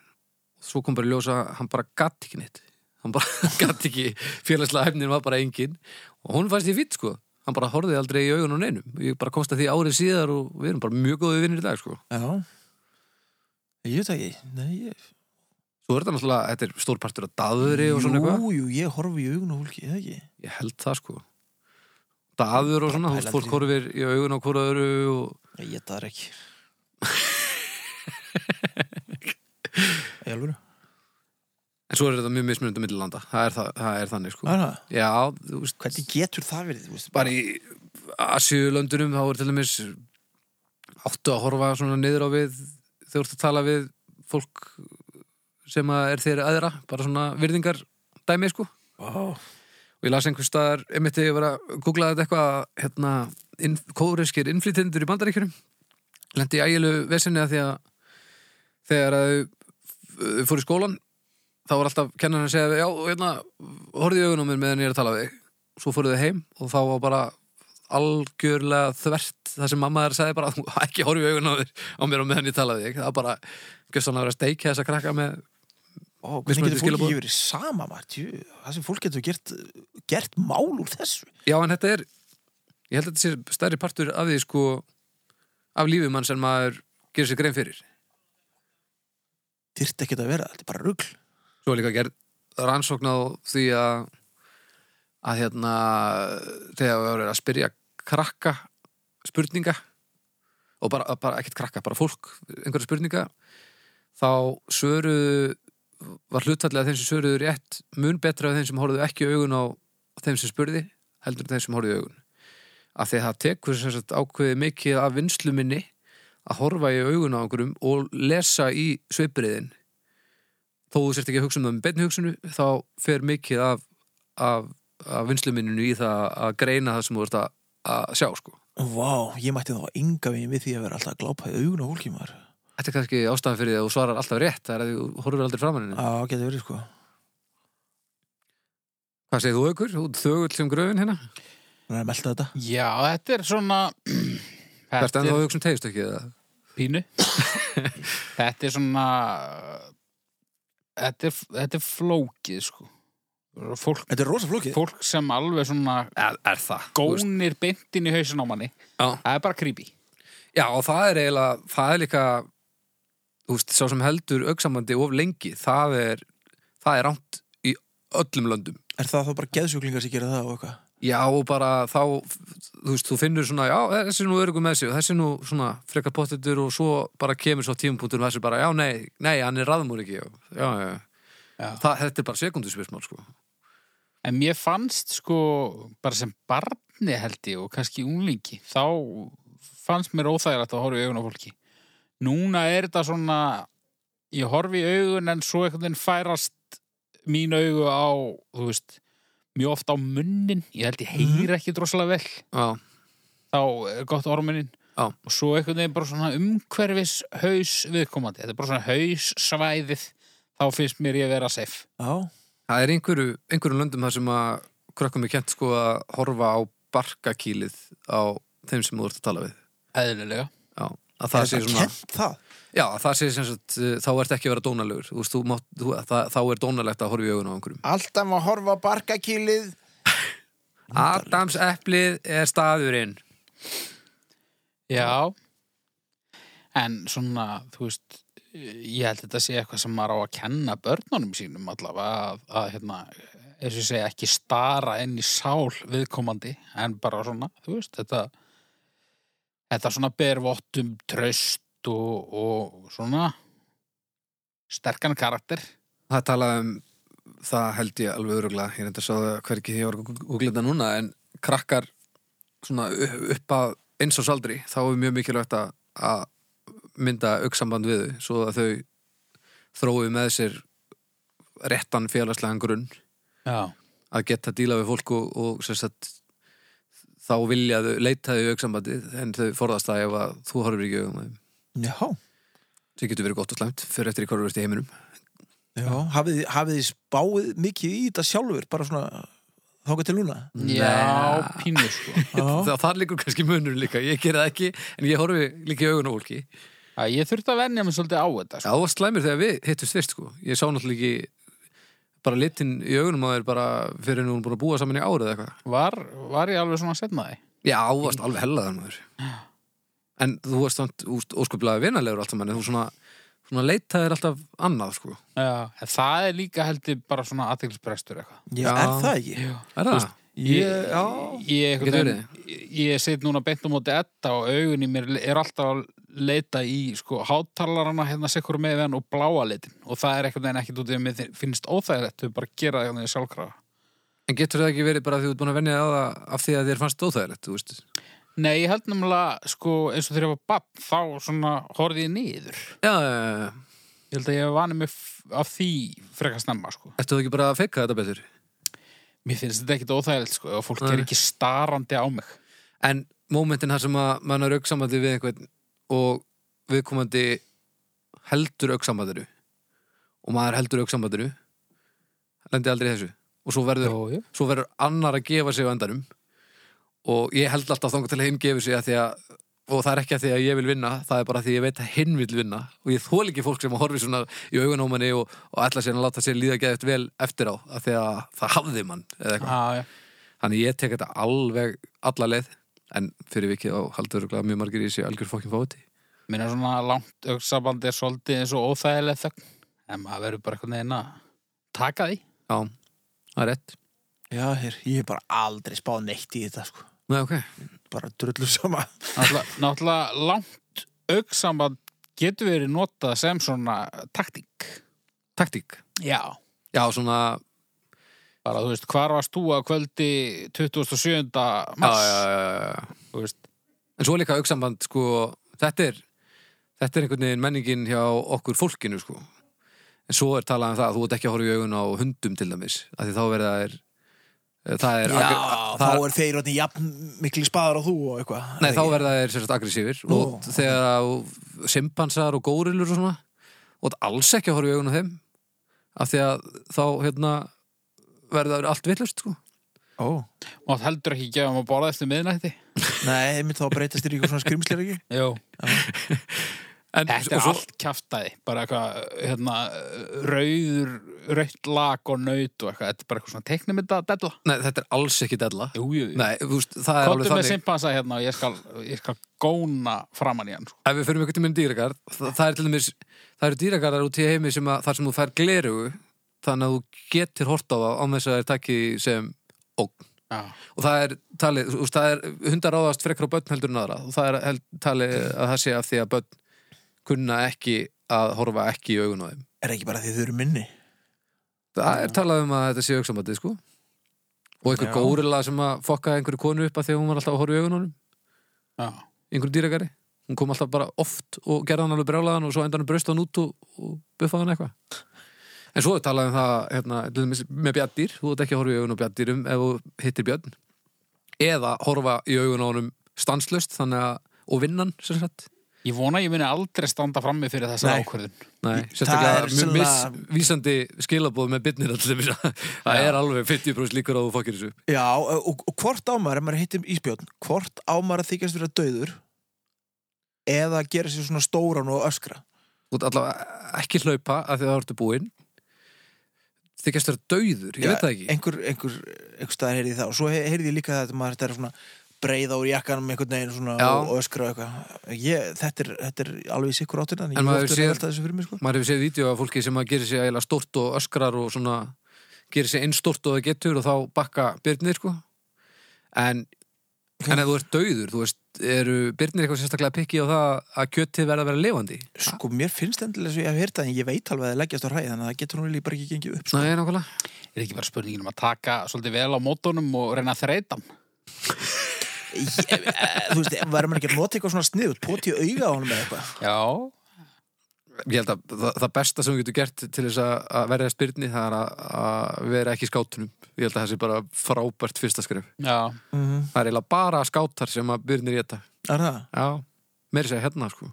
[SPEAKER 2] Og svo kom bara í ljósa að hann bara gatt ekki neitt. Hann bara gatt ekki, félagslega hefnin var bara engin. Og hún fannst ég fýtt, sko. Hann bara horfði aldrei í augun á neinum. Ég bara komst að því árið síðar og við erum bara mjög góðu vinnir í dag, sko.
[SPEAKER 1] Já Ég veit það ekki, nei ég...
[SPEAKER 2] Svo er þetta náttúrulega, þetta er stórpartur af daðri og svona eitthvað.
[SPEAKER 1] Jú, jú, ég horfi í augun á fólki, eða ekki
[SPEAKER 2] Ég held það sko Daður og svona, þú veist,
[SPEAKER 1] pælandi
[SPEAKER 2] fólk horfir í augun á hvora öru og
[SPEAKER 1] Nei, ég það er ekki Í alvöru?
[SPEAKER 2] En svo er þetta mjög mismunandi milli landa það er, það, það er þannig sko
[SPEAKER 1] Það er það?
[SPEAKER 2] Já, þú veist,
[SPEAKER 1] Hvernig getur það verið? þú Veist,
[SPEAKER 2] bara í Asiulöndunum þá er til dæmis áttu að horfa svona niður á við þegar þú ert að tala við fólk sem að er þeir aðra bara svona virðingar dæmi sko
[SPEAKER 1] Ó,
[SPEAKER 2] og ég las einhvers staðar, einmitt þegar ég var að googla þetta eitthvað, hérna, inn, kóriskir innflytendur í bandaríkjurum lendi í ægilu vesinni að því að þegar að þau fór í skólan, þá var alltaf kennarinn að segja, já, hérna, horfðu í augunum mér meðan ég er að tala við, þig." svo fóruðu heim og þá var bara algjörlega þvert það sem mamma þær sagði bara, "Þú- ekki horfðu í augunum á þér á mér og meðan ég tala við, þig." það var bara gjössanlega að vera að steikja þessa krakka með
[SPEAKER 1] Ó, hvernig
[SPEAKER 2] Mismunandi
[SPEAKER 1] getur fólk
[SPEAKER 2] skilaboð.
[SPEAKER 1] ekki verið sama maður, tjú, það sem fólk getur gert, gert mál úr þessu
[SPEAKER 2] Já, en þetta er ég held að þetta sé stærri partur af því sko af lífið mann sem maður gerir sér grein fyrir
[SPEAKER 1] þyrfti ekki að vera, þetta er bara rugl
[SPEAKER 2] Svo er líka gerð rannsókn á því að að hérna þegar við vorum að spyrja krakka spurninga og bara, bara ekkert krakka, bara fólk einhverja spurninga þá svöruðu var hlutfallið að þeim sem svöruðu rétt mun betra af þeim sem horfðu ekki í augun á þeim sem spurði heldur en þeim sem horfðu í augun af því að það tekur sem sagt ákveðið mikið af vinsluminni að horfa í augun á einhverjum og lesa í sveipriðin þó þú sért ekki að hugsa um það með beinni hugsunu þá fer mikið af, af, af vinsluminninu í það að greina það sem þú ert að, að sjá sko.
[SPEAKER 1] Vá, ég mætti þá enga veginn við því að vera alltaf að glápa í augun og hólki maður
[SPEAKER 2] Þetta er kannski ástæðan fyrir því að þú svarar alltaf rétt það er að þú horfir aldrei framan henni.
[SPEAKER 1] Á, getur verið sko
[SPEAKER 2] Hvað segir þú aukur? Þú ert þögull sem gröfin hérna?
[SPEAKER 1] Hún er að melta þetta
[SPEAKER 3] Já, þetta er svona
[SPEAKER 2] Hvert
[SPEAKER 3] Þetta
[SPEAKER 2] en þá
[SPEAKER 3] er
[SPEAKER 2] hugsa um tegist ekki það?
[SPEAKER 3] pínu Þetta er svona Þetta er, þetta er flókið sko fólk,
[SPEAKER 1] Þetta er rosa flókið
[SPEAKER 3] fólk sem alveg svona
[SPEAKER 2] Er, er það? Góð.
[SPEAKER 3] gónir beintin í hausin á manni
[SPEAKER 2] Já.
[SPEAKER 3] Það er bara creepy
[SPEAKER 2] Já og það er eiginlega, það er líka þú veist, sá sem heldur auksambandi of lengi, það er það er rámt í öllum löndum
[SPEAKER 1] Er það þá bara geðsjúklingar sem gera það og eitthvað?
[SPEAKER 2] Já og bara þá þú veist, þú finnur svona, já þessi er nú örugum með sig og þessi er nú svona frekar pottetur og svo bara kemur svo tímapunktur og þessi bara, já nei, nei, hann er raðmúr ekki já, já, já,
[SPEAKER 3] Já.
[SPEAKER 2] Það, þetta er bara sekunduspismál sko
[SPEAKER 3] En mér fannst sko bara sem barni held ég og kannski unglingi þá fannst mér óþægilegt að horfa í augun á fólki. Núna er þetta svona ég horfi í augun en svo einhvern veginn færast mín augu á, þú veist mjög oft á munnin, ég held ég heyri ekki drossalega vel,
[SPEAKER 2] Já,
[SPEAKER 3] þá er gott ormunnin
[SPEAKER 2] Já.
[SPEAKER 3] og svo einhvern veginn bara svona umhverfis haus viðkomandi, þetta er bara svona haus svæðið, þá finnst mér ég vera safe.
[SPEAKER 1] Já,
[SPEAKER 2] það er einhverju, einhverjum löndum þar sem að krökkum er kent sko að horfa á barkakýlið á þeim sem þú ert að tala við
[SPEAKER 3] Eðlilega.
[SPEAKER 2] Já, að það sé
[SPEAKER 1] er
[SPEAKER 2] svona
[SPEAKER 1] kennt það
[SPEAKER 2] Já, að það sé sem sagt, uh, þá ert ekki að vera dónalegur Þú veist, þú mátt, þú, það, þá er dónalegt að horfa í augun á einhverjum
[SPEAKER 1] Alltaf maður horfa á barkakýlið
[SPEAKER 2] Adams eplið er staðurinn
[SPEAKER 3] Já, en svona, þú veist, ég held að þetta sé eitthvað sem maður á að kenna börnunum sínum allavega að, að hérna, eins og ég segja, ekki stara inn í sál viðkomandi, en bara svona, þú veist, þetta, þetta svona ber vottum tröst og, og svona sterkan karakter.
[SPEAKER 2] Það talaði um, það held ég alveg öruglega, ég reyndi að sá það hverki því ég var að googla þetta núna, en krakkar svona u- upp að eins og saldri, þá er mjög mikilvægt að, að mynda auksamband við þau, svo að þau þrói með sér réttan félagslegan grunn
[SPEAKER 3] Já.
[SPEAKER 2] að geta að díla við fólk og, og sem sagt, þá vilja þau leita þau í auksambandið, en þau forðast það ef að þú horfir ekki um þeim.
[SPEAKER 1] Já,
[SPEAKER 2] Það getur verið gott og slæmt, fyrir eftir í hvað þú ert í heiminum.
[SPEAKER 1] já Hafið, þið- hafið þið spáið mikið í þetta sjálfur bara svona þáka til lúna
[SPEAKER 3] Já, pínu sko.
[SPEAKER 1] Já,
[SPEAKER 2] það, það liggur kannski munur líka, ég gerði það ekki en ég horfi líka í augun á fólki
[SPEAKER 3] Að ég þurfti að venja mig svolítið á þetta, sko.
[SPEAKER 2] það var slæmur þegar við hittumst fyrst sko. ég sá náttúrulega ekki bara litin í augunum á þér bara fyrir en hún búin að búa saman í árið eða eitthvað
[SPEAKER 3] Var, var ég alveg svona að setna því?
[SPEAKER 2] já, þú varst alveg hellaðan maður en þú varst samt úst, óskuplega vinalegur alltaf manni, þú svona, svona leitaðir alltaf annað sko.
[SPEAKER 3] Já, en það er líka heldur bara svona aðtilsbrestur eitthvað.
[SPEAKER 1] já,
[SPEAKER 2] Já.
[SPEAKER 1] er það ekki?
[SPEAKER 3] Já.
[SPEAKER 2] er það?
[SPEAKER 3] Ég,
[SPEAKER 2] já,
[SPEAKER 3] ég,
[SPEAKER 2] Getur
[SPEAKER 3] ég, ég, ég set núna beint á móti etta og augun í mér er alltaf að leita í sko hátalarana hérna sekkur með henn og bláa litin og það er eitthvað en ekkert út í að mér þi- finnst óþægilegt við bara gera það hérna sjálfkrafa.
[SPEAKER 2] en getur það ekki verið bara því þú ert búin að venja það af því að þér fannst óþægilegt þú veist.
[SPEAKER 3] Nei, ég held nefnilega sko eins og þegar ég var bann þá svona horfði ég niður.
[SPEAKER 2] já, já, já, já.
[SPEAKER 3] Ég held að ég vani mig f- af því frekar snemma sko.
[SPEAKER 2] ertu þú ekki bara að feika þetta betur?
[SPEAKER 3] Mér finnst þetta ekkert óþægilegt sko og fólk
[SPEAKER 2] Nei.
[SPEAKER 3] er ekki starandi á mig.
[SPEAKER 2] en mómentin þar sem að mann er auksamandi við einhvern og viðkomandi heldur auksamandinu og maður heldur auksamandinu lendi aldrei í þessu og svo verður,
[SPEAKER 3] jú.
[SPEAKER 2] svo verður annar að gefa sig á endanum og ég held alltaf þangar til að hinn gefur sig að því að og það er ekki að því að ég vil vinna það er bara að því að ég veit að hinn vil vinna og ég þól ekki fólk sem horfi svona í augunómanni og, og ætla sér að láta sér líða geðið vel eftir á af því að það hafði mann eða eitthvað
[SPEAKER 3] Já, já.
[SPEAKER 2] Þannig ég tek þetta alveg alla leið en fyrir vikið á haldur og glæða mjög margir í þessu algjör fokkin fóti.
[SPEAKER 3] Mér er svona langt auksabandi er svolítið eins og óþægileg þögn en maður verður bara einhvern veginn að taka því
[SPEAKER 2] Já, það er rétt.
[SPEAKER 1] Já, hér, ég hef bara aldrei spáð neitt í þetta, sko.
[SPEAKER 2] Nei, ok.
[SPEAKER 1] Bara drullu sama.
[SPEAKER 3] Náttúrulega, náttúrulega langt auksamband getur verið notað sem svona taktík
[SPEAKER 2] Taktík.
[SPEAKER 3] Já
[SPEAKER 2] Já, svona,
[SPEAKER 3] Bara þú veist, hvar varst þú að kvöldi 27.
[SPEAKER 2] já,
[SPEAKER 3] mars
[SPEAKER 2] já, já, já, já.
[SPEAKER 3] Þú veist,
[SPEAKER 2] En svo líka auksamband, sko, þetta er, þetta er einhvern veginn menningin hjá okkur fólkinu, sko. En svo er talað um það að þú ert ekki að horfa í augun á hundum til dæmis, af því þá verða það er, það er,
[SPEAKER 1] Já,
[SPEAKER 2] agg-
[SPEAKER 1] þá
[SPEAKER 2] það
[SPEAKER 1] er þeir orðin jafn mikli spaðar á þú og eitthvað.
[SPEAKER 2] Nei, þá verða þeir sérst aggressífir
[SPEAKER 1] Nú.
[SPEAKER 2] og þegar að simpansar og górilur og svona og þetta alls ekki að horfa í augun á þeim af því að þá hérna verða þeir allt villust sko.
[SPEAKER 1] Ó.
[SPEAKER 3] mátt heldur ekki gefa um að borða eftir miðnætti
[SPEAKER 1] Nei, einmitt þá breytast þér í eitthvað svona skrimslir ekki.
[SPEAKER 3] Jú
[SPEAKER 2] en,
[SPEAKER 3] Þetta er
[SPEAKER 2] og svo,
[SPEAKER 3] allt kjaftaði, bara eitthvað, hérna, rauður, rautt lag og naut og eitthvað, þetta er bara eitthvað svona teiknumynda að della.
[SPEAKER 2] Nei, þetta er alls ekki della
[SPEAKER 3] Jú, jú, jú.
[SPEAKER 2] Nei, þú veist, það er
[SPEAKER 3] Kottu
[SPEAKER 2] alveg
[SPEAKER 3] með
[SPEAKER 2] þannig
[SPEAKER 3] simpansa hérna og ég skal, ég skal góna framan í hann, sko.
[SPEAKER 2] Ef við förum einhvern tíminn í dýragarð það, það er til dæmis, það eru dýragarðar út í heimi sem að, þar sem þú fær glerugu þannig að þú getur hort á það án þess að þeir takki sem ógn
[SPEAKER 3] Já.
[SPEAKER 2] og það er talið, þú veist, það er hundar ráðast frekar á börn heldur en aðra og það er held, talið að það sé af því að börn kunna ekki að horfa ekki í augun á þeim.
[SPEAKER 1] Er ekki bara því þau eru minni?
[SPEAKER 2] Það er talað um að þetta sé auksamandi, sko og einhver
[SPEAKER 1] Já.
[SPEAKER 2] górilla sem að fokkaði einhverju konu upp að því að hún var alltaf að horfa í augun á honum
[SPEAKER 3] Já.
[SPEAKER 2] einhverju dýragari, hún kom alltaf bara oft og gerði hann alveg brjálaðan og svo endan braust hann út og, og buffaði hann eitthvað en svo er talað um það hérna, til dæmis með bjaddýr, þú ert ekki að horfa í augun á bjaddýrum ef þú hittir björn eða horfa í augun á honum stanslust þannig að, og vinnan sem sagt,
[SPEAKER 3] Ég vona ég muni aldrei standa frammi fyrir þessa
[SPEAKER 1] Nei.
[SPEAKER 3] ákvörðun.
[SPEAKER 2] nei,
[SPEAKER 1] Það er
[SPEAKER 2] sérstaklega mjög
[SPEAKER 1] sennilega-
[SPEAKER 2] missvísandi skilabóð með byrnir allir mér, það er alveg 50% líkur á að þú fokkir þessu upp.
[SPEAKER 1] Já, og, og hvort ámar, ef maður hittir íspjörn, hvort ámar að þykjast vera dauður eða gera sér svona stóran og öskra?
[SPEAKER 2] þú ert allavega ekki hlaupa að því að það ertu búinn þykjast vera dauður, ég
[SPEAKER 1] Já,
[SPEAKER 2] veit það ekki
[SPEAKER 1] einhver, einhver, einhver staðar heyrði ég það og svo he- heyrði ég líka þetta maður þetta er svona breiða úr jakkanum einhvern veginn svona
[SPEAKER 2] Já.
[SPEAKER 1] og, og öskra og eitthvað ég, þetta, er, þetta er alveg í sikkur áttina en
[SPEAKER 2] En
[SPEAKER 1] ég
[SPEAKER 2] maður
[SPEAKER 1] hef oft verið
[SPEAKER 2] sér-
[SPEAKER 1] að velta þessu fyrir mér sko
[SPEAKER 2] maður hefur séð vídeo af fólki sem að gerir sig eiginlega stort og öskrar og svona gerir sig einn stort og það getur og þá bakka byrnir sko en, en ef þú ert dauður þú veist, eru byrnir eitthvað sérstaklega pikki á það að kjötið verða að vera lifandi
[SPEAKER 1] sko mér finnst endilega svo ég hef heyrt það en ég veit alveg að það leggjast á ræði þannig að það getur hún líka bara ekki gengið upp sko.
[SPEAKER 2] Nei, nákvæmlega
[SPEAKER 3] Er ekki bara spurningin um að taka svolítið vel á mótunum og reyna að þreita hann?
[SPEAKER 1] ég, e, þú veist, verður maður ekki að nota eitthvað svona sniðut poti í auga á honum eða eitthvað
[SPEAKER 3] Já.
[SPEAKER 2] Ég held að það, það besta sem þú getur gert til þess að, að verða spyrni það er að, að vera ekki í skátunum Ég held að það sé bara frábært fyrsta skref
[SPEAKER 3] Já.
[SPEAKER 1] mm
[SPEAKER 2] Það er eiginlega bara skátar sem að byrnir í þetta
[SPEAKER 1] er það?
[SPEAKER 2] Já, meiri segja hérna sko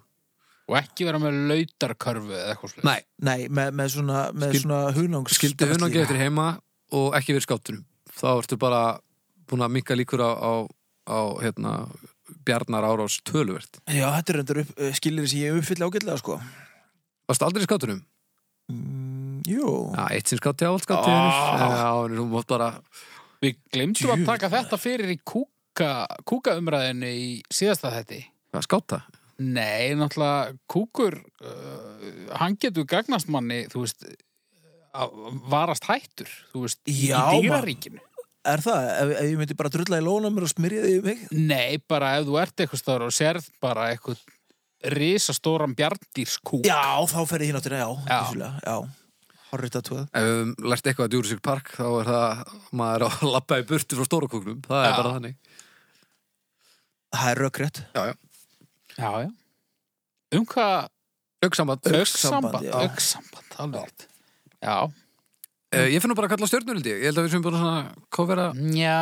[SPEAKER 3] Og ekki vera með lautarkörfu eða eitthvað slið.
[SPEAKER 2] Nei,
[SPEAKER 1] Nei, með, með svona, með
[SPEAKER 2] Skil-
[SPEAKER 1] svona hunang
[SPEAKER 2] skildi hunangið eftir heima og ekki verið skátunum Þá ertu bara búin að minka líkur á, á, á hérna, Bjarnar Árás töluvert
[SPEAKER 1] Já, þetta er endur upp, skilir þessi ég uppfylla ágætlega sko
[SPEAKER 2] Varstu aldrei í skátunum?
[SPEAKER 1] mm, Jú
[SPEAKER 2] Já, eitt sinn skáti á allt skáti
[SPEAKER 3] Ah.
[SPEAKER 2] oh. Já, en þú mátt bara
[SPEAKER 3] Við glemtum að
[SPEAKER 1] Djöfull.
[SPEAKER 3] taka þetta fyrir í kúka, kúkaumræðinu í síðasta þetti.
[SPEAKER 2] Hvað, skáta
[SPEAKER 3] Nei, náttúrulega kúkur, uh, hann getur gagnast manni, þú veist, uh, að varast hættur, þú veist,
[SPEAKER 1] Já,
[SPEAKER 3] í
[SPEAKER 1] maður.
[SPEAKER 3] dýraríkinu.
[SPEAKER 1] Er það? Ef, ef ég myndi bara drulla í lónum og smyrja því um mig?
[SPEAKER 3] Nei, bara ef þú ert eitthvað stóra og sérð bara eitthvað risastóran bjarndýrskúk.
[SPEAKER 1] Já, þá fer ég hinn áttina, já.
[SPEAKER 3] Já.
[SPEAKER 1] vissulega, já. Horrið tattúað.
[SPEAKER 2] Ef við höfum lært eitthvað að Jurassic Park þá er það, maður er að labba í burtu frá stóra kúknum, það er
[SPEAKER 3] Já.
[SPEAKER 2] bara þannig
[SPEAKER 1] Það er rökrétt.
[SPEAKER 2] Já, já
[SPEAKER 3] já. já. Um hvað?
[SPEAKER 2] Augsambat
[SPEAKER 1] Augnsamband,
[SPEAKER 3] Öggsamband.
[SPEAKER 1] já.
[SPEAKER 3] Öggsamband, alveg rétt. Já.
[SPEAKER 2] Uh, ég finn nú bara að kalla stjörnur held ég. Ég held að við sem bara svona kofera
[SPEAKER 3] Já,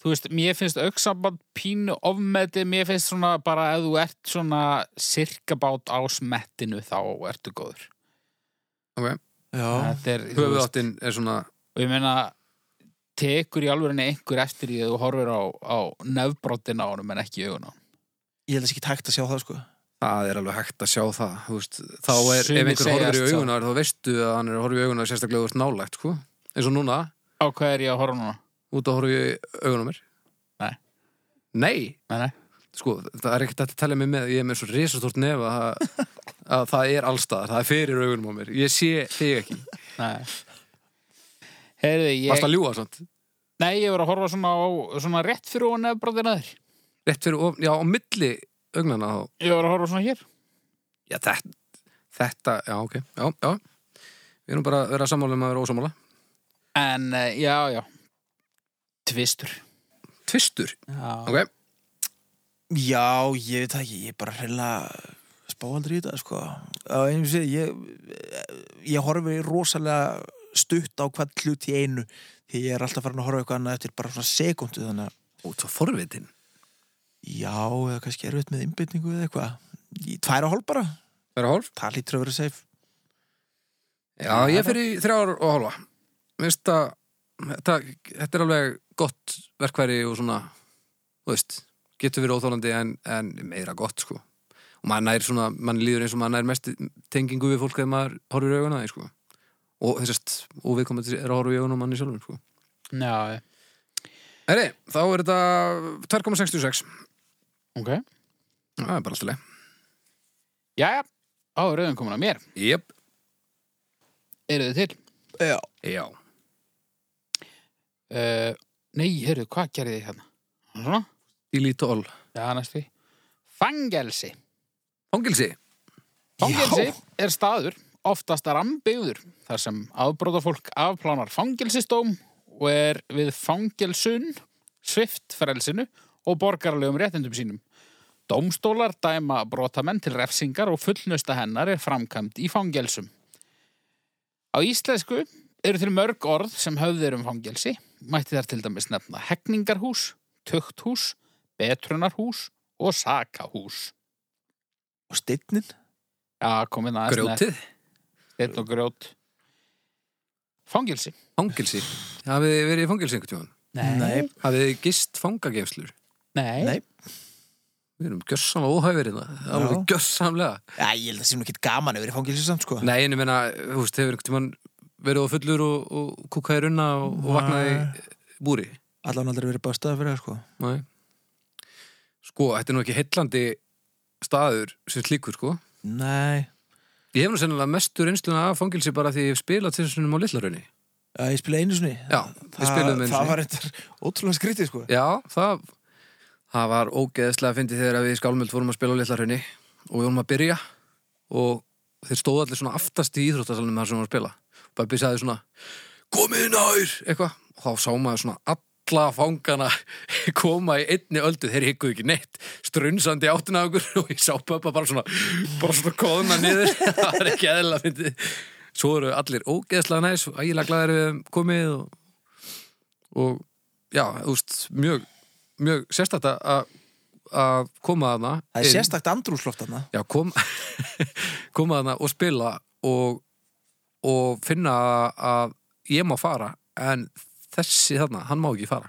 [SPEAKER 3] þú veist, mér finnst auksamband pínu ofmeti, mér finnst svona bara ef þú ert svona sirkabát á smettinu þá ertu góður.
[SPEAKER 1] Já.
[SPEAKER 3] Þetta er, þú veist,
[SPEAKER 2] höfuðáttin er svona
[SPEAKER 3] og ég meina, tekur í alvörinni einhver eftir því að þú horfir á, á nefbrotin á honum en ekki í augun á honum.
[SPEAKER 1] Ég held að sé ekki hægt að sjá það sko
[SPEAKER 2] Það er alveg hægt að sjá það, þú veist, þá er,
[SPEAKER 3] Sumir
[SPEAKER 2] ef einhver
[SPEAKER 3] segjast
[SPEAKER 2] horfir í
[SPEAKER 3] það.
[SPEAKER 2] augunar, þá veistu að hann er að horfa í augunar sérstaklega þú ert nálægt, sko. Eins og núna,
[SPEAKER 3] Á hvað er ég að horfa núna?
[SPEAKER 2] út að horfa í augunar mér.
[SPEAKER 3] Nei.
[SPEAKER 2] Nei,
[SPEAKER 3] Nei, nei.
[SPEAKER 2] sko, það er ekkert hægt að tala mig með, ég er með svo risastort nef að, það- að það er allstaðar, það er fyrir augunum á mér. Ég sé þig ekki.
[SPEAKER 3] nei. Heyrðu,
[SPEAKER 2] Varst
[SPEAKER 3] ég...
[SPEAKER 2] að ljúga samt?
[SPEAKER 3] Nei, ég var að horfa svona, á, svona rétt fyrir og nefnbróðina þér.
[SPEAKER 2] Rétt fyrir, of- já, á milli augnana þá.
[SPEAKER 3] Ég var að horfa svona hér.
[SPEAKER 2] Já, þetta, þetta, já, ok, já, já. Við erum bara að vera sammála um að vera ósammála.
[SPEAKER 3] En, eh, já, já. Tvistur.
[SPEAKER 2] Tvistur,
[SPEAKER 3] Já.
[SPEAKER 2] ok.
[SPEAKER 1] Já, ég veit það ekki, ég er bara hreinlega spáaldri í þetta sko Á einu sé, ég, ég horfi rosalega stutt á hvað hlut í einu því ég er alltaf farin að horfa á eitthvað annað eftir bara svona sekundu þannig að
[SPEAKER 2] Út svo forvitin.
[SPEAKER 1] já, eða kannski erfitt með innbytningu eða eitthvað Í Tvær og hálf bara,
[SPEAKER 2] Vera hálf?
[SPEAKER 1] það lítur að vera safe
[SPEAKER 2] Já, ég fyrir þrjár og hálfa. Mér finnst að þetta, þetta er alveg gott verkværi og svona, þú veist, getur verið óþólandi en, en meira gott, sko. Og maður nær svona, mann líður eins og maður nær mest tengingu við fólk þegar maður horfir í auguna þeim, sko. Og þessast, og við komum til er að horfa í auguna á manni sjálfum, sko.
[SPEAKER 3] Já, já.
[SPEAKER 2] Herri, þá er þetta 2,66.
[SPEAKER 3] Ok.
[SPEAKER 2] Það er bara alltaf leið.
[SPEAKER 3] Já, já. Á, rauðum komin að mér.
[SPEAKER 2] Jep.
[SPEAKER 3] Eru þið til?
[SPEAKER 1] Já,
[SPEAKER 2] Já.
[SPEAKER 3] Uh, nei, heyrðu, hvað gerði ég hérna? Svona?
[SPEAKER 2] Elite all.
[SPEAKER 3] Já, næstu. Fangelsi.
[SPEAKER 2] Fangilsi.
[SPEAKER 3] Fangelsi er staður, oftast rambiður, þar sem afbrótafólk afplánar fangelsistóm og er við fangelsun, svift frelsinu og borgarlegum réttindum sínum. Dómstólar dæma brotamenn til refsingar og fullnusta hennar er framkvæmt í fangelsum. Á íslensku eru til mörg orð sem höfðir um fangelsi, mætti þar til dæmis nefna hegningarhús, tukthús, betrunarhús og sakahús.
[SPEAKER 1] og steinnin
[SPEAKER 3] Já, komið aðeins nær.
[SPEAKER 2] Grjótið.
[SPEAKER 3] Steinn og grjót Fangelsi
[SPEAKER 2] Fangilsi. Hafið þið verið í fangilsi einhvern tjóðan?
[SPEAKER 1] Nei.
[SPEAKER 2] Hafið þið gist fangageimslur?
[SPEAKER 3] Nei.
[SPEAKER 1] Nei.
[SPEAKER 2] Við erum gjörsamlega óhæfir hérna. Það
[SPEAKER 1] Já.
[SPEAKER 2] er gjörsamlega.
[SPEAKER 1] Já, ég held að sé nú ekki gaman að vera í fangelsi samt sko
[SPEAKER 2] Nei, en ég meina, þú veist, hefur einhvern tímann verið á fullur og, og kúkaði runna og, og vaknaði í búri.
[SPEAKER 1] Allan aldrei verið bástaða fyrir það sko
[SPEAKER 2] Nei. Sko, þetta er nú ekki heillandi staður sem slíkur, sko.
[SPEAKER 1] Nei,
[SPEAKER 2] Ég hef nú sennilega mestu reynsluna af fangilsi bara því ég hef spilað til þessum á Lillarunni.
[SPEAKER 1] já, ég spilaði einu sinni
[SPEAKER 2] Já, við spiluðum einu
[SPEAKER 1] Það
[SPEAKER 2] sinni.
[SPEAKER 1] var eitthvað ótrúlega skrítið sko
[SPEAKER 2] Já, það, það var ógeðslega fyndið þegar við í skálmöld vorum að spila á Lillarunni og við vorum að byrja og þeir stóðu allir svona aftast í íþróttasalunum þar sem við vorum að spila. Bara byrjaði svona, komið nær, eitthvað. Og þá sá maður svona alla fangana koma í einni öldu, þeir hikkuðu ekki neitt, strunsandi í áttina af okkur og ég sá pappa bara svona, bara svona kóðuna niður, það var ekki eðla fyndið. Svo eru allir ógeðslega næs, ægilega glæðir við þeim komið og, og já, þú veist, mjög, mjög sérstætt að að koma að það
[SPEAKER 1] Það er sérstakt andrúsloft þarna
[SPEAKER 2] já, kom, koma að það og spila og, og finna að ég má fara en þessi þarna, hann má ekki fara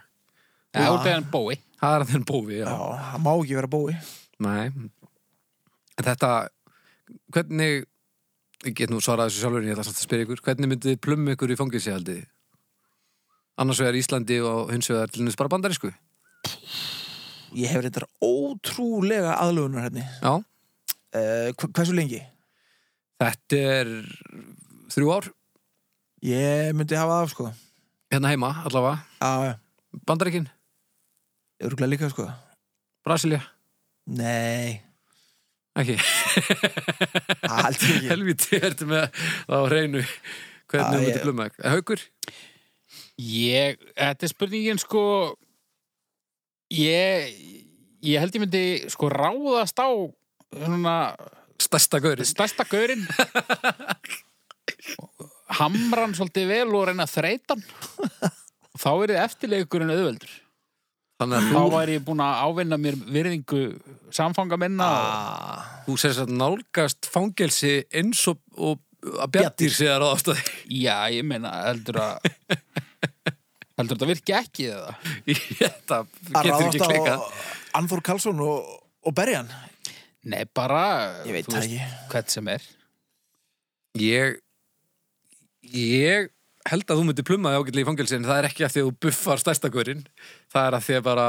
[SPEAKER 3] Það er út eða en bói
[SPEAKER 2] það er hann þinn bófi, já,
[SPEAKER 1] Já, það má ekki vera bói
[SPEAKER 2] Nei. En þetta, hvernig ég get nú svarað þessu sjálfur en ég ætla samt að spyrja ykkur, hvernig myndið þið plumma ykkur í fangilsihaldi annars vegar Íslandi og hins vegar til nýst bara bandarísku
[SPEAKER 1] Ég hef reyndar ótrúlega aðlugunar henni
[SPEAKER 2] já,
[SPEAKER 1] uh, Hversu lengi?
[SPEAKER 2] þetta er þrjú ár,
[SPEAKER 1] Ég myndi hafa það sko
[SPEAKER 2] hérna heima allavega,
[SPEAKER 1] Já,
[SPEAKER 2] bandaríkin
[SPEAKER 1] örgulega líka sko
[SPEAKER 2] Brasilia,
[SPEAKER 1] Nei,
[SPEAKER 2] ekki
[SPEAKER 1] það held ég ekki
[SPEAKER 2] helviti ertu með það á hreinu
[SPEAKER 1] Já,
[SPEAKER 2] hvernig þú
[SPEAKER 1] ég-
[SPEAKER 2] myndið plumma ykkur, haukur
[SPEAKER 3] Ég, þetta er spurningin sko Ég Ég held ég myndi sko ráðast á svona
[SPEAKER 2] stærsta gaurið,
[SPEAKER 3] stærsta gaurinn Hamran svolítið vel og reyna að þreita hann Þá er þið eftirleikurinn auðveldur
[SPEAKER 2] þannig
[SPEAKER 3] Þá
[SPEAKER 2] að þú,
[SPEAKER 3] væri ég búin að ávinna mér virðingu samfanga minna
[SPEAKER 1] ah,
[SPEAKER 2] þú sér satt nálgast fangelsi eins og, og
[SPEAKER 1] Bjarndýr.
[SPEAKER 2] að bjartir séðar á ástæði
[SPEAKER 3] Já, ég meina, heldur að heldur að þetta virki ekki eða
[SPEAKER 2] Þetta
[SPEAKER 1] Að
[SPEAKER 2] getur ekki
[SPEAKER 1] ráðast á
[SPEAKER 2] klikað
[SPEAKER 1] Anþór Karlsson og, og berja hann
[SPEAKER 3] Nei, bara,
[SPEAKER 1] Ég veit
[SPEAKER 3] þú
[SPEAKER 1] það ekki
[SPEAKER 3] hvern sem er
[SPEAKER 2] Ég Ég held að þú myndir plumma þig ágætlega í fangelsin Það er ekki að því að þú buffar stærsta hverinn Það er að því að bara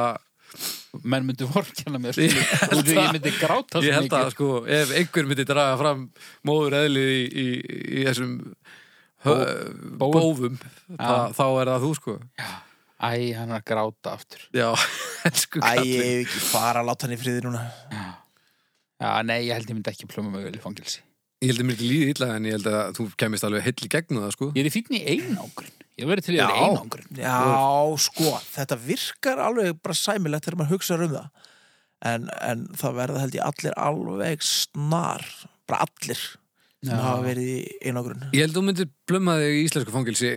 [SPEAKER 3] menn myndi vorkjana mér
[SPEAKER 2] Ég
[SPEAKER 3] ég,
[SPEAKER 2] held
[SPEAKER 3] ég,
[SPEAKER 2] að-
[SPEAKER 3] ég myndi gráta
[SPEAKER 2] Ég
[SPEAKER 3] svo
[SPEAKER 2] held að
[SPEAKER 3] mikið
[SPEAKER 2] sko Ef einhver myndir draga fram móður eðlið í, í, í þessum hö,
[SPEAKER 3] Bó-
[SPEAKER 2] bófum
[SPEAKER 3] Já.
[SPEAKER 2] það, Þá er það þú sko
[SPEAKER 3] Æ, hann er að gráta aftur
[SPEAKER 2] Já,
[SPEAKER 1] Æ,
[SPEAKER 2] elsku
[SPEAKER 1] ég
[SPEAKER 2] kallinn
[SPEAKER 1] hef ekki fara að láta hann í friði núna
[SPEAKER 3] Já, nei, ég held ég myndi ekki plöma mig vel í fangelsi
[SPEAKER 2] Ég held að mér ekki líði illa en ég held að þú kemist alveg heill í gegnum það sko
[SPEAKER 3] Ég er í fínni í einangrun Ég verið til í
[SPEAKER 2] Já.
[SPEAKER 3] vera í einangrun
[SPEAKER 1] Já, sko, þetta virkar alveg bara sæmilegt þegar maður hugsa um það en, en það verða held ég allir alveg snar bara allir sem
[SPEAKER 3] Já.
[SPEAKER 1] hafa verið í einogrun
[SPEAKER 2] Ég held að þú myndir blöma þig í íslensku fangelsi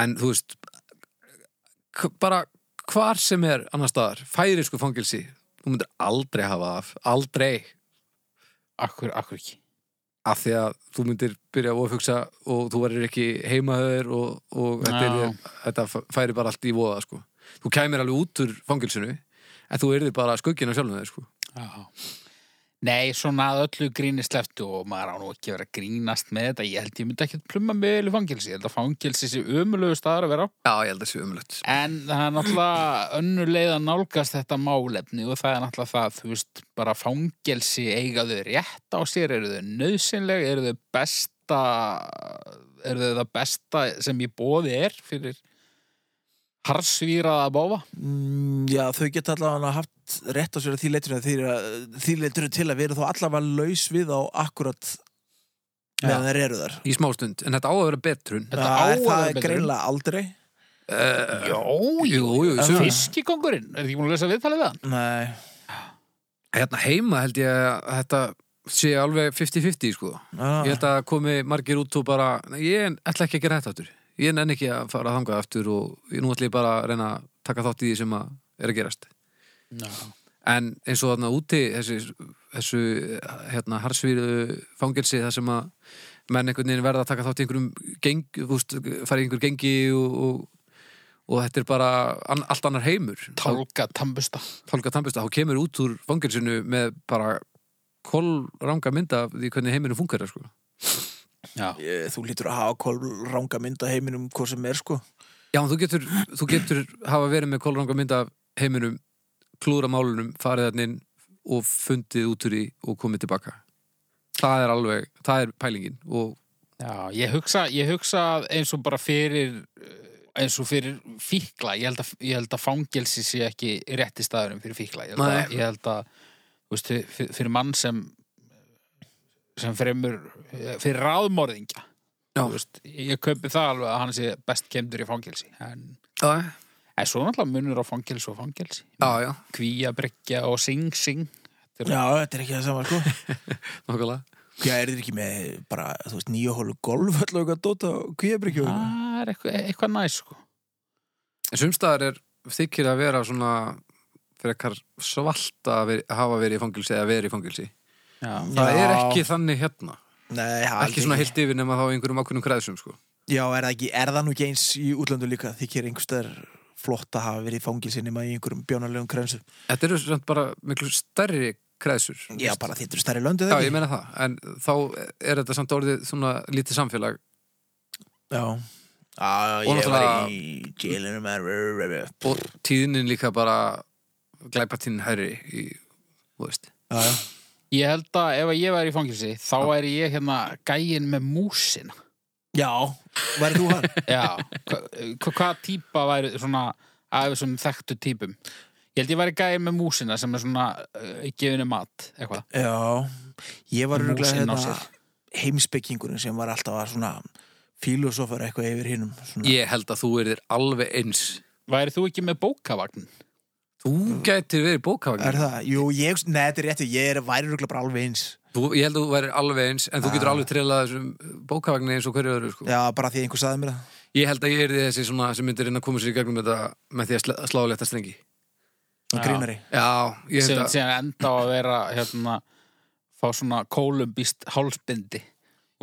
[SPEAKER 2] en þú veist k- bara hvar sem er annar staðar, færisku fangelsi þú myndir aldrei hafa það af, aldrei
[SPEAKER 3] Akkur, akkur ekki
[SPEAKER 2] af því að þú myndir byrja að ofugsa og þú verður ekki heimaður og, og þetta, er, þetta f- færi bara allt í voða sko. þú kæmir alveg út úr fangelsinu en þú erðir bara skuggin á sjálfum þeir sko.
[SPEAKER 3] Já. Nei, svona að öllu gríni sleftu og maður á nú ekki að vera að grínast með þetta. Ég held ég myndi ekki að plumma mig vel í fangelsi. Ég held að fangelsi sé ömulegu staðar að vera á.
[SPEAKER 2] Já, ég held að sé umlögt
[SPEAKER 3] En það er náttúrulega önnur leið að nálgast þetta málefni og það er náttúrulega það, þú veist, bara fangelsi eiga þau rétt á sér, eru þau nöðsynleg, eru þau besta, eru þau það besta sem ég bóði er fyrir harsvíraða bófa?
[SPEAKER 1] mm, Já, þau geta allavega haft rétt á sér að því leiturinn því, að- því leiturinn til að vera þá allavega laus við á akkurat meðan þeir eru þar
[SPEAKER 2] í smástund, en þetta á að vera betrun
[SPEAKER 1] Já,
[SPEAKER 3] Þetta á
[SPEAKER 1] er
[SPEAKER 3] að
[SPEAKER 1] það
[SPEAKER 3] vera betrun.
[SPEAKER 1] greinlega aldrei
[SPEAKER 2] uh,
[SPEAKER 3] Jó,
[SPEAKER 2] Jú, jú,
[SPEAKER 1] En
[SPEAKER 2] jú
[SPEAKER 1] það-
[SPEAKER 3] Fiskikongurinn, er þið ekki búin að lesa viðtalið við hann?
[SPEAKER 1] Nei,
[SPEAKER 2] Hérna heima held ég að þetta sé alveg 50-50 sko.
[SPEAKER 1] ah,
[SPEAKER 2] Ég held að komi margir út og bara, "Nei, ég ætla ekki að gera þetta aftur. Ég nenni ekki að fara að þangað aftur og ég- nú ætla ég bara að reyna að taka þátt í því sem að er að gerast.
[SPEAKER 3] Já.
[SPEAKER 2] En eins og þarna úti, þessi, þessu hérna, harsvíru fangelsi, það sem að menn einhvern veginn verða að taka þátt í einhverjum geng, úst, fara í einhver gengi og, og, og þetta er bara an, allt annar heimur.
[SPEAKER 3] Tálka, tambusta
[SPEAKER 2] Tálka Tambusta, þá kemur út úr fangilsinu með bara kolranga mynda af því hvernig heiminu funkar sko.
[SPEAKER 3] Já,
[SPEAKER 1] ég- Þú lítur að hafa kól ranga mynda heiminum hvað sem er sko
[SPEAKER 2] Já, en þú getur, þú getur hafa verið með kolranga mynda af heiminum klúra málunum, farið þarna inn og fundið út úr því og komið tilbaka Það er alveg, það er pælingin og
[SPEAKER 3] já ég, hugsa, ég hugsa að eins og bara fyrir eh, eins og fyrir fíkla ég held að, ég held að fangelsi sé ekki rétti staðurum fyrir fíkla ég held að,
[SPEAKER 2] Nei.
[SPEAKER 3] ég held að þú veist, fyr- fyrir mann sem sem fremur eh, fyrir ráðmorðingja
[SPEAKER 2] Já.
[SPEAKER 3] Þú veist, ég kaupi það alveg að hann sé best kemdur í fangelsi en,
[SPEAKER 2] Já,
[SPEAKER 3] en svo náttúrulega munur á fangelsi og fangelsi
[SPEAKER 2] já, já
[SPEAKER 3] kvíabryggja og sing-sing
[SPEAKER 1] Já, þetta er ekki það sama sko
[SPEAKER 2] nokkulega
[SPEAKER 1] Já, er þið ekki með bara, þú veist, nýja hólu golf öll og eitthvað dóta og kvíabryggju og eitthvað?
[SPEAKER 3] það er eitthvað, eitthvað næs sko.
[SPEAKER 2] En sumstaðar er þykir að vera svona frekar svalt að veri, hafa verið í fangilsi eða verið í fangilsi
[SPEAKER 3] já.
[SPEAKER 2] Það
[SPEAKER 1] Já.
[SPEAKER 2] er ekki þannig hérna
[SPEAKER 1] Nei, það er
[SPEAKER 2] ekki svona heilt yfir nema þá í einhverjum ákveðnum kreðsum sko.
[SPEAKER 1] Já, er það ekki, er það nú ekki eins í útlöndu líka þykir einhverstaðar flott að hafa verið í fangilsin nema í einhverjum bjónarlegum krensu
[SPEAKER 2] Þetta eru samt bara miklu stærri kreðsur
[SPEAKER 1] Já, bara þýttur stærri löndu
[SPEAKER 2] Já,
[SPEAKER 1] þegar
[SPEAKER 2] ég meina það, en þá er þetta samt orðið svona lítið samfélag
[SPEAKER 1] Já, Já, ég
[SPEAKER 2] Og
[SPEAKER 1] var
[SPEAKER 2] náttúrulega-
[SPEAKER 1] í jailinu með Já,
[SPEAKER 2] og tíðnin líka bara glæpartíðin hærri í, þú veist
[SPEAKER 1] já,
[SPEAKER 3] Ég held að ef að ég væri í fangilsi þá væri ég hérna gæin með músina
[SPEAKER 1] já væri þú hann?
[SPEAKER 3] Já, hva- hvað típa væri svona af þessum þekktu típum Ég held ég væri gæin með músina sem er svona uh, gefinu mat eitthvað
[SPEAKER 1] Já, ég var
[SPEAKER 3] Músin
[SPEAKER 1] rúglega
[SPEAKER 3] á
[SPEAKER 1] hérna
[SPEAKER 3] sér.
[SPEAKER 1] heimspekingurinn sem var alltaf að svona filosofar eitthvað yfir hinnum
[SPEAKER 2] Ég held að þú erðir alveg eins
[SPEAKER 3] Væri þú ekki með bókavagn?
[SPEAKER 2] Þú gætir verið
[SPEAKER 1] Er
[SPEAKER 2] bókavagn
[SPEAKER 1] það? Jú, ég, nei, þetta er rétti, ég er væri rúglega bara alveg eins
[SPEAKER 2] þú, Ég held að þú værir alveg eins en þú
[SPEAKER 1] Ah.
[SPEAKER 2] getur alveg trillað þessum bókavagni eins og hverju öðru sko.
[SPEAKER 1] Já, bara því að einhver saði mér það.
[SPEAKER 2] Ég held að ég erði þessi svona sem myndir inn að koma sér í gegnum þetta með því að sl- slá letta strengi
[SPEAKER 1] Það
[SPEAKER 3] Já.
[SPEAKER 1] grínari.
[SPEAKER 2] Já, ég
[SPEAKER 3] Sem,
[SPEAKER 2] held að
[SPEAKER 3] sem enda á að vera hérna fá svona kólumbist hálsbindi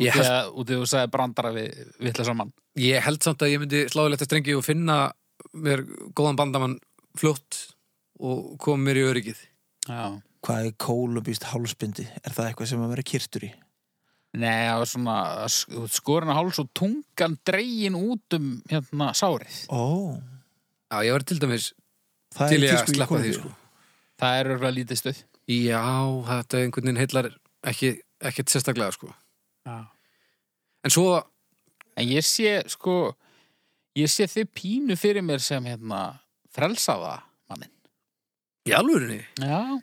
[SPEAKER 2] Ég held-
[SPEAKER 3] yeah. út í að þú sagði brandara við, við ætla saman
[SPEAKER 2] Ég held samt að ég myndi sláðilegt að strengi og finna mér góðan bandamann fljótt og koma mér í öryggið.
[SPEAKER 3] Já.
[SPEAKER 1] Hvað er kólumbíst hálsbindi? Er það eitthvað sem að vera kyrtur í?
[SPEAKER 3] Nei, það var svona þú ert skorinn á háls og tungan dregin út um hérna sárið.
[SPEAKER 1] Ó,
[SPEAKER 2] Já, ég var til dæmis
[SPEAKER 1] það
[SPEAKER 2] Til
[SPEAKER 1] er
[SPEAKER 2] ég að
[SPEAKER 1] tísku í
[SPEAKER 2] sleppa því,
[SPEAKER 1] kólumbíu.
[SPEAKER 2] sko.
[SPEAKER 3] Það er örgulega lítið stuð.
[SPEAKER 2] Já, þetta er einhvern veginn heillar ekki, ekkert sérstaklega, sko
[SPEAKER 3] Já.
[SPEAKER 2] En svo,
[SPEAKER 3] En ég sé, sko, ég sé þið pínu fyrir mér sem hérna frelsaða mannin.
[SPEAKER 2] í alvörunni
[SPEAKER 3] Já.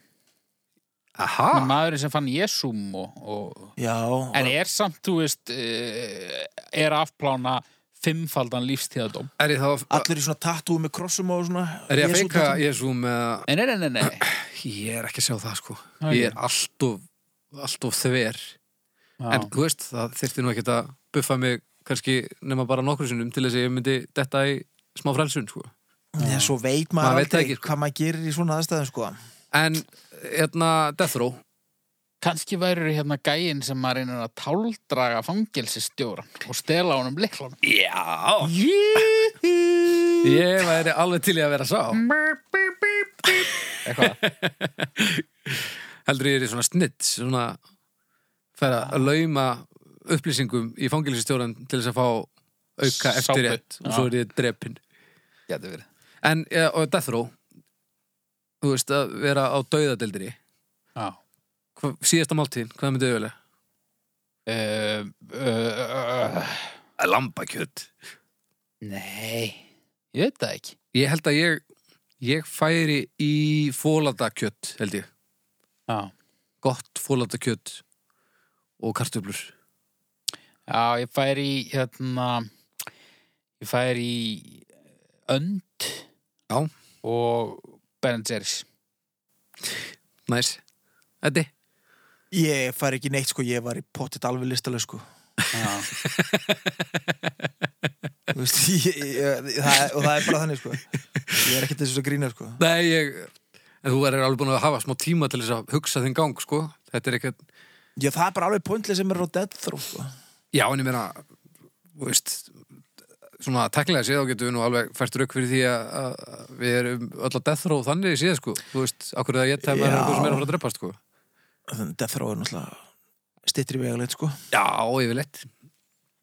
[SPEAKER 2] Aha,
[SPEAKER 3] Ah. Maðurinn sem fann Jésum og, og...
[SPEAKER 1] Já,
[SPEAKER 3] En er samt, þú veist, eh, er afplána fimmfaldan lífstíðadóm.
[SPEAKER 2] er ég þá
[SPEAKER 1] allir í svona tattúi með krossum og svona
[SPEAKER 2] Er ég að
[SPEAKER 1] Jesú
[SPEAKER 2] feika
[SPEAKER 1] tattúi.
[SPEAKER 2] Jésu með
[SPEAKER 3] Nei, nei, nei, nei.
[SPEAKER 2] Ég er ekki að sjá það, sko
[SPEAKER 3] Nei.
[SPEAKER 2] Ég er alltof, alltof þver
[SPEAKER 3] Já.
[SPEAKER 2] En þú veist, það þyrfti nú ekkert að buffa mig kannski nema bara nokkru sinnum til þess að ég myndi detta í smá frelsun, sko
[SPEAKER 1] Já, svo veit maður,
[SPEAKER 2] Maður veit
[SPEAKER 1] aldrei
[SPEAKER 2] það ekki, sko.
[SPEAKER 1] hvað maður gerir í svona aðstæðum sko
[SPEAKER 2] En, hérna, Death Row
[SPEAKER 3] Kanski væri hérna gæinn sem maður reynir að táldraga fangelsistjóran og stela honum liklum.
[SPEAKER 2] Já
[SPEAKER 3] Jú!
[SPEAKER 2] Ég væri alveg til í að vera
[SPEAKER 3] Mm.
[SPEAKER 2] sá
[SPEAKER 3] Eitthvað.
[SPEAKER 2] heldur ég er í svona snitt svona fer að lauma upplýsingum í fangilsistjóran til þess að fá auka
[SPEAKER 3] Sápu.
[SPEAKER 2] eftir rétt og svo
[SPEAKER 3] Já.
[SPEAKER 2] er ég drepin
[SPEAKER 3] Gæti verið.
[SPEAKER 2] en, ja, og Death Row þú veist að vera á dauðadeldri
[SPEAKER 3] Já.
[SPEAKER 2] Hva, síðasta máltíð, hvað myndið auðvölega?
[SPEAKER 3] Uh, uh, uh,
[SPEAKER 2] Lambakjöt
[SPEAKER 3] nei, ég veit það ekki.
[SPEAKER 2] Ég held að ég, ég færi í fóladakjöt held ég,
[SPEAKER 3] Já.
[SPEAKER 2] gott fóladakjöt og kartöflur
[SPEAKER 3] Já, ég fær í, hérna, ég fær í önd
[SPEAKER 2] Já.
[SPEAKER 3] og Ben Jerry's.
[SPEAKER 2] næs, þetta
[SPEAKER 1] Ég fær ekki neitt sko, ég var í pottit alveg listaleg sko
[SPEAKER 3] Já.
[SPEAKER 1] Þú veist, ég, ég, það, og það er bara þannig sko Ég er ekkert þessu að grína sko
[SPEAKER 2] Nei, ég, en þú verður alveg búin að hafa smá tíma til þess að hugsa þinn gang, sko. Þetta er ekkert,
[SPEAKER 1] Já, það er bara alveg pointlega sem er á death throw sko
[SPEAKER 2] já, en ég meina, þú veist, svona teklega séð þá getum við nú alveg fært rauk fyrir því að, að við erum öll að death row þannig séð, sko. Þú veist, akkur er það að ég tæma
[SPEAKER 1] Já.
[SPEAKER 2] er eitthvað sem er að fara að drepa, sko.
[SPEAKER 1] Þannig að death throw er náttúrulega stittri vegalegt sko
[SPEAKER 2] Já, yfirleitt.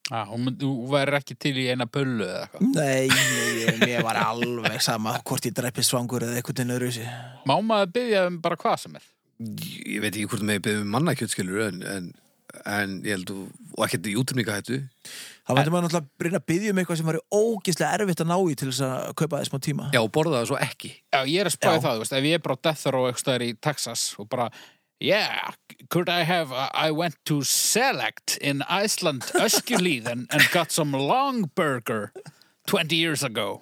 [SPEAKER 3] Já, hún myndi- þú væri ekki til í eina pullu eða eitthvað.
[SPEAKER 1] Nei, nei, ég, mér var alveg sama hvort ég dræpi svangur eða eitthvað nöðru þessi
[SPEAKER 3] Má maður byggja um bara hvað sem er?
[SPEAKER 2] Ég, ég veit ekki hvort með ég beðum um mannakjöt, skilur, en, en, en ég held, þú- og ekkert í útrýmninga hættu.
[SPEAKER 1] Það vændi maður náttúrulega að reyna að byggja um eitthvað sem var ógislega erfitt að ná í til þess að kaupa þess smá tíma
[SPEAKER 2] Já, og borða það svo ekki.
[SPEAKER 3] Já, ég er að spáði
[SPEAKER 1] Já.
[SPEAKER 3] það, þú veist, ef ég er bara á death row eitthvað staðar í Texas og bara Yeah, could I have, I went to Select in Iceland, Öskjulíð and, and got some long burger 20 years ago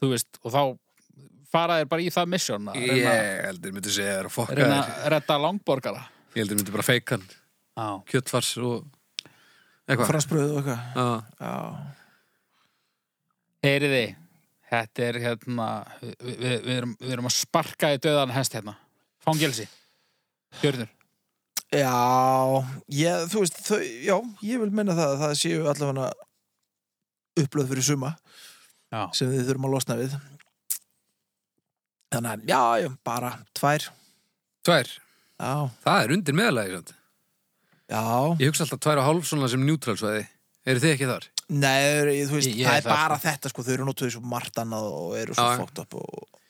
[SPEAKER 3] Þú veist, og þá fara þér bara í það mission að
[SPEAKER 2] Ég
[SPEAKER 3] reyna,
[SPEAKER 2] heldur myndi segja þér að fokka
[SPEAKER 3] reyna
[SPEAKER 2] þér.
[SPEAKER 3] að redda langborgara
[SPEAKER 2] Ég heldur myndi bara feika hann.
[SPEAKER 3] Já,
[SPEAKER 2] kjötfars og eitthvað
[SPEAKER 1] Fransbröð og eitthvað
[SPEAKER 2] Já.
[SPEAKER 1] Já,
[SPEAKER 3] heyriði Þetta er hérna, við, við, við, erum, við erum að sparka í döðan hest hérna Fangelsi, Hjörnur
[SPEAKER 1] Já, ég, þú veist, þau, já, ég vil menna það að það séu allavega upplöð fyrir suma
[SPEAKER 3] Já.
[SPEAKER 1] sem þið þurfum að losna við. Þannig að, já, já, bara tvær,
[SPEAKER 2] Tvær,
[SPEAKER 1] já,
[SPEAKER 2] það er undir meðalagi sant?
[SPEAKER 1] já,
[SPEAKER 2] Ég hugsa alltaf tvær og hálf svona sem neutral svæði Eru þið ekki þar?
[SPEAKER 1] nei, þú veist,
[SPEAKER 3] Ég- ég
[SPEAKER 1] það
[SPEAKER 3] er
[SPEAKER 1] er
[SPEAKER 3] það,
[SPEAKER 1] bara þetta, sko, þau eru notuð svo margt annað og eru svo
[SPEAKER 2] Já, já.
[SPEAKER 1] fókt upp og,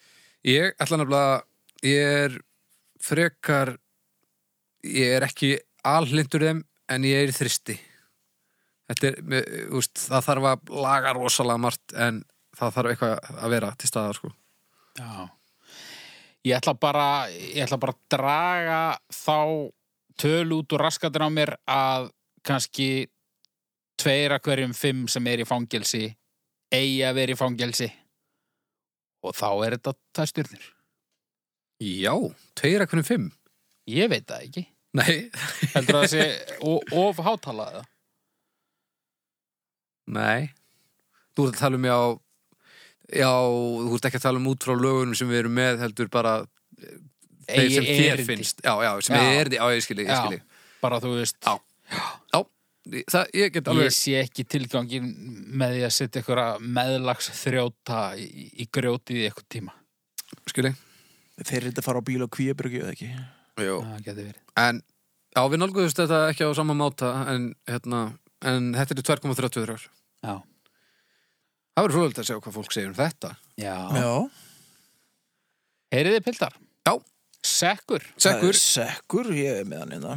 [SPEAKER 2] Ég ætla nefnilega Ég er frekar Ég er ekki alhlindur þeim En ég er í þristi Þetta er, mér- úst, það þarf að laga rosalega margt En það þarf eitthvað að vera til staðar sko.
[SPEAKER 3] Já. Ég ætla bara, ég ætla bara að draga þá tölu út úr raskatina á mér að kannski tveira hverjum fimm sem er í fangelsi eigi að vera í fangelsi og þá er þetta það stjórnir.
[SPEAKER 2] Já, tveira hvernig fimm
[SPEAKER 3] Ég veit það ekki.
[SPEAKER 2] Nei,
[SPEAKER 3] Heldur það að sé o- of hátalaða?
[SPEAKER 2] Nei Þú ert að tala um já Já, þú ert ekki að tala um út frá lögunum sem við erum með heldur bara þeir sem þér finnst Já, já, sem
[SPEAKER 3] Já.
[SPEAKER 2] ég er því, já, ég skilji, ég
[SPEAKER 3] Já.
[SPEAKER 2] skilji
[SPEAKER 3] Bara þú veist,
[SPEAKER 2] Já. Það, ég get alveg
[SPEAKER 3] ég sé ekki tilgangin með því að setja einhverja meðlags þrjóta í, í grjótið í eitthvað tíma.
[SPEAKER 2] skilji
[SPEAKER 1] Þeir eru þetta að fara á bíl og kvíabryggi eða ekki
[SPEAKER 2] Jó.
[SPEAKER 3] það getur verið.
[SPEAKER 2] En, já, við nálguðust þetta ekki á sama máta en, hérna, en þetta eru 2,33
[SPEAKER 3] Já.
[SPEAKER 2] Það verður fróðilegt að sjá hvað fólk segir um þetta
[SPEAKER 3] Já.
[SPEAKER 1] Já,
[SPEAKER 3] Heyrið þið pildar?
[SPEAKER 2] Já.
[SPEAKER 3] Sekkur.
[SPEAKER 1] það er
[SPEAKER 2] Sekkur,
[SPEAKER 1] Sekkur, ég er með hann hérna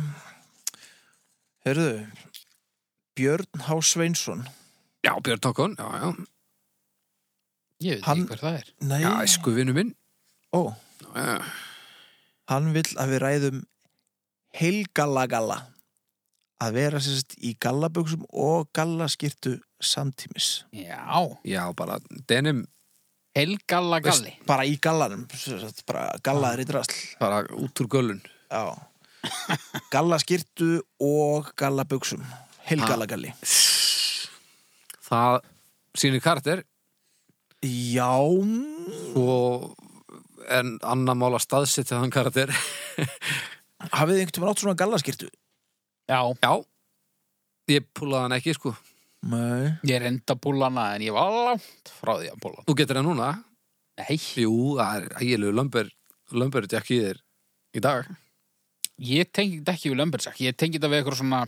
[SPEAKER 1] Herðu Björn H. Sveinsson
[SPEAKER 2] já, Björn Tókon Já, já,
[SPEAKER 3] Ég veit
[SPEAKER 1] Hann-
[SPEAKER 3] ekki hver það er.
[SPEAKER 1] Nei,
[SPEAKER 2] já, sko vinnu minn
[SPEAKER 1] ó,
[SPEAKER 2] Já,
[SPEAKER 1] hann vill að við ræðum heilgalagalla að vera sérst í gallaböksum og gallaskirtu samtímis
[SPEAKER 3] Já.
[SPEAKER 2] já, bara denim,
[SPEAKER 3] Helgalla galli.
[SPEAKER 1] bara í gallanum sérst, bara gallaður í drasl
[SPEAKER 2] bara út úr gölun
[SPEAKER 1] Já. gallaskirtu og gallaböksum heilgalagalli
[SPEAKER 2] Það sýnir karakter
[SPEAKER 1] Já,
[SPEAKER 2] og en annar mála staðsitt þann karakter
[SPEAKER 1] hafið þið einhvern tímann átt svona gallaskirtu?
[SPEAKER 3] Já.
[SPEAKER 2] Já, ég púlaði hann ekki, sko
[SPEAKER 1] Nei
[SPEAKER 3] Ég er enda að búla hana en ég var langt frá því að búla hana.
[SPEAKER 2] Þú getur það núna
[SPEAKER 3] Nei.
[SPEAKER 2] Jú, það er ægilegu lömber lömber ekki í þér í dag
[SPEAKER 3] Ég tengi þetta ekki við lömbersak. Ég tengi þetta við eitthvað svona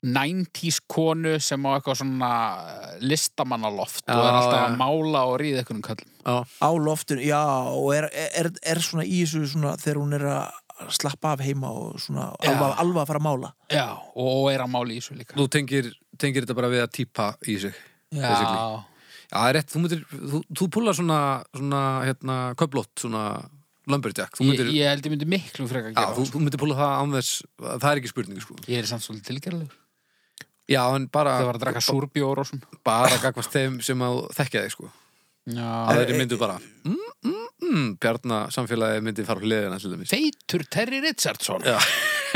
[SPEAKER 3] 90s konu sem á eitthvað svona eh, listamannaloft
[SPEAKER 2] Já,
[SPEAKER 3] og er alltaf
[SPEAKER 2] já.
[SPEAKER 3] að mála og ríða eitthvað um köllum.
[SPEAKER 2] Já,
[SPEAKER 1] á loftinu, já og er, er, er svona í þessu svona þegar hún er að slappa af heima og svona
[SPEAKER 3] Já.
[SPEAKER 1] alva, alva að fara að mála
[SPEAKER 3] Já, og er að mála í þessu líka.
[SPEAKER 2] þú tengir, tengir þetta bara við að típa í sig
[SPEAKER 3] Já,
[SPEAKER 2] basically. Já, það er rétt, þú myndir þú, þú púlar svona, svona hérna, köflott, svona lumberjack þú
[SPEAKER 3] ég,
[SPEAKER 2] myndir,
[SPEAKER 3] ég held ég myndi miklu frekar að
[SPEAKER 2] já,
[SPEAKER 3] gera
[SPEAKER 2] þú,
[SPEAKER 3] það.
[SPEAKER 2] þú myndir púla það ánvers það er ekki spurning, sko
[SPEAKER 3] Ég er samt svolítið tilgerðilegur.
[SPEAKER 2] Já, en bara,
[SPEAKER 3] Það var að draka súrbjór og svona.
[SPEAKER 2] bara gagvast þeim sem að þekkja þig, sko
[SPEAKER 3] Já.
[SPEAKER 2] aðri myndu bara mm, mm, mm, Bjarna samfélagi myndi fara hliðina til dæmis
[SPEAKER 3] Feitur Terry Richardson.
[SPEAKER 2] Já.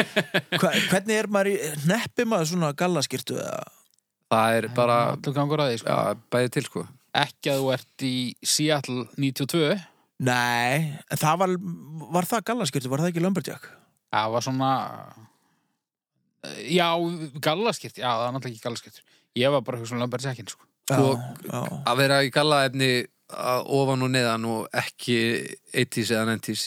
[SPEAKER 1] Hva, hvernig er maður í, neppi maður svona gallaskirtu eða
[SPEAKER 2] það er bara,
[SPEAKER 3] Allur gangur að því, sko.
[SPEAKER 2] já, bæði til, sko
[SPEAKER 3] Ekki að þú ert í Seattle 92.
[SPEAKER 1] nei, en það var var það gallaskirtu, var það ekki lumberjack
[SPEAKER 3] Það var svona Já, gallaskirt Já, það var náttúrulega ekki gallaskirt Ég var bara eitthvað svona lömbar sekkin sko.
[SPEAKER 2] Sko-
[SPEAKER 1] já,
[SPEAKER 2] að vera í gallaefni að ofan og neðan og ekki 80s eða 90s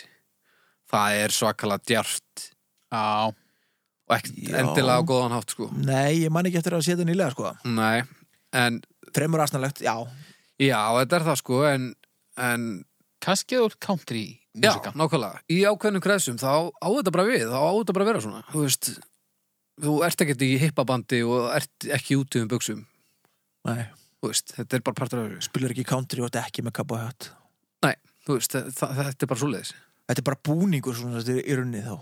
[SPEAKER 2] það er svakalega djart
[SPEAKER 3] Já,
[SPEAKER 2] og ekki
[SPEAKER 1] Já.
[SPEAKER 2] endilega á góðan hátt sko
[SPEAKER 1] nei, ég man ekki eftir að setja nýlega sko,
[SPEAKER 2] nei, en
[SPEAKER 1] fremur asnalegt já,
[SPEAKER 2] já, þetta er það sko en, en
[SPEAKER 3] kannski þú ert country
[SPEAKER 2] já,
[SPEAKER 3] músikan
[SPEAKER 2] nákvæmlega, í ákveðnum kreðsum þá á þetta bara við, þá á þetta bara að vera svona þú veist, þú ert ekkert í hippabandi og ert ekki út um buksum
[SPEAKER 1] nei,
[SPEAKER 2] þú veist, þetta er bara partur af þessu
[SPEAKER 1] spilur ekki country og þetta ekki með kappa hatt
[SPEAKER 2] nei, þú veist, það, þetta er bara svoleiðis
[SPEAKER 1] þetta er bara búningur svona þetta er í runni þá,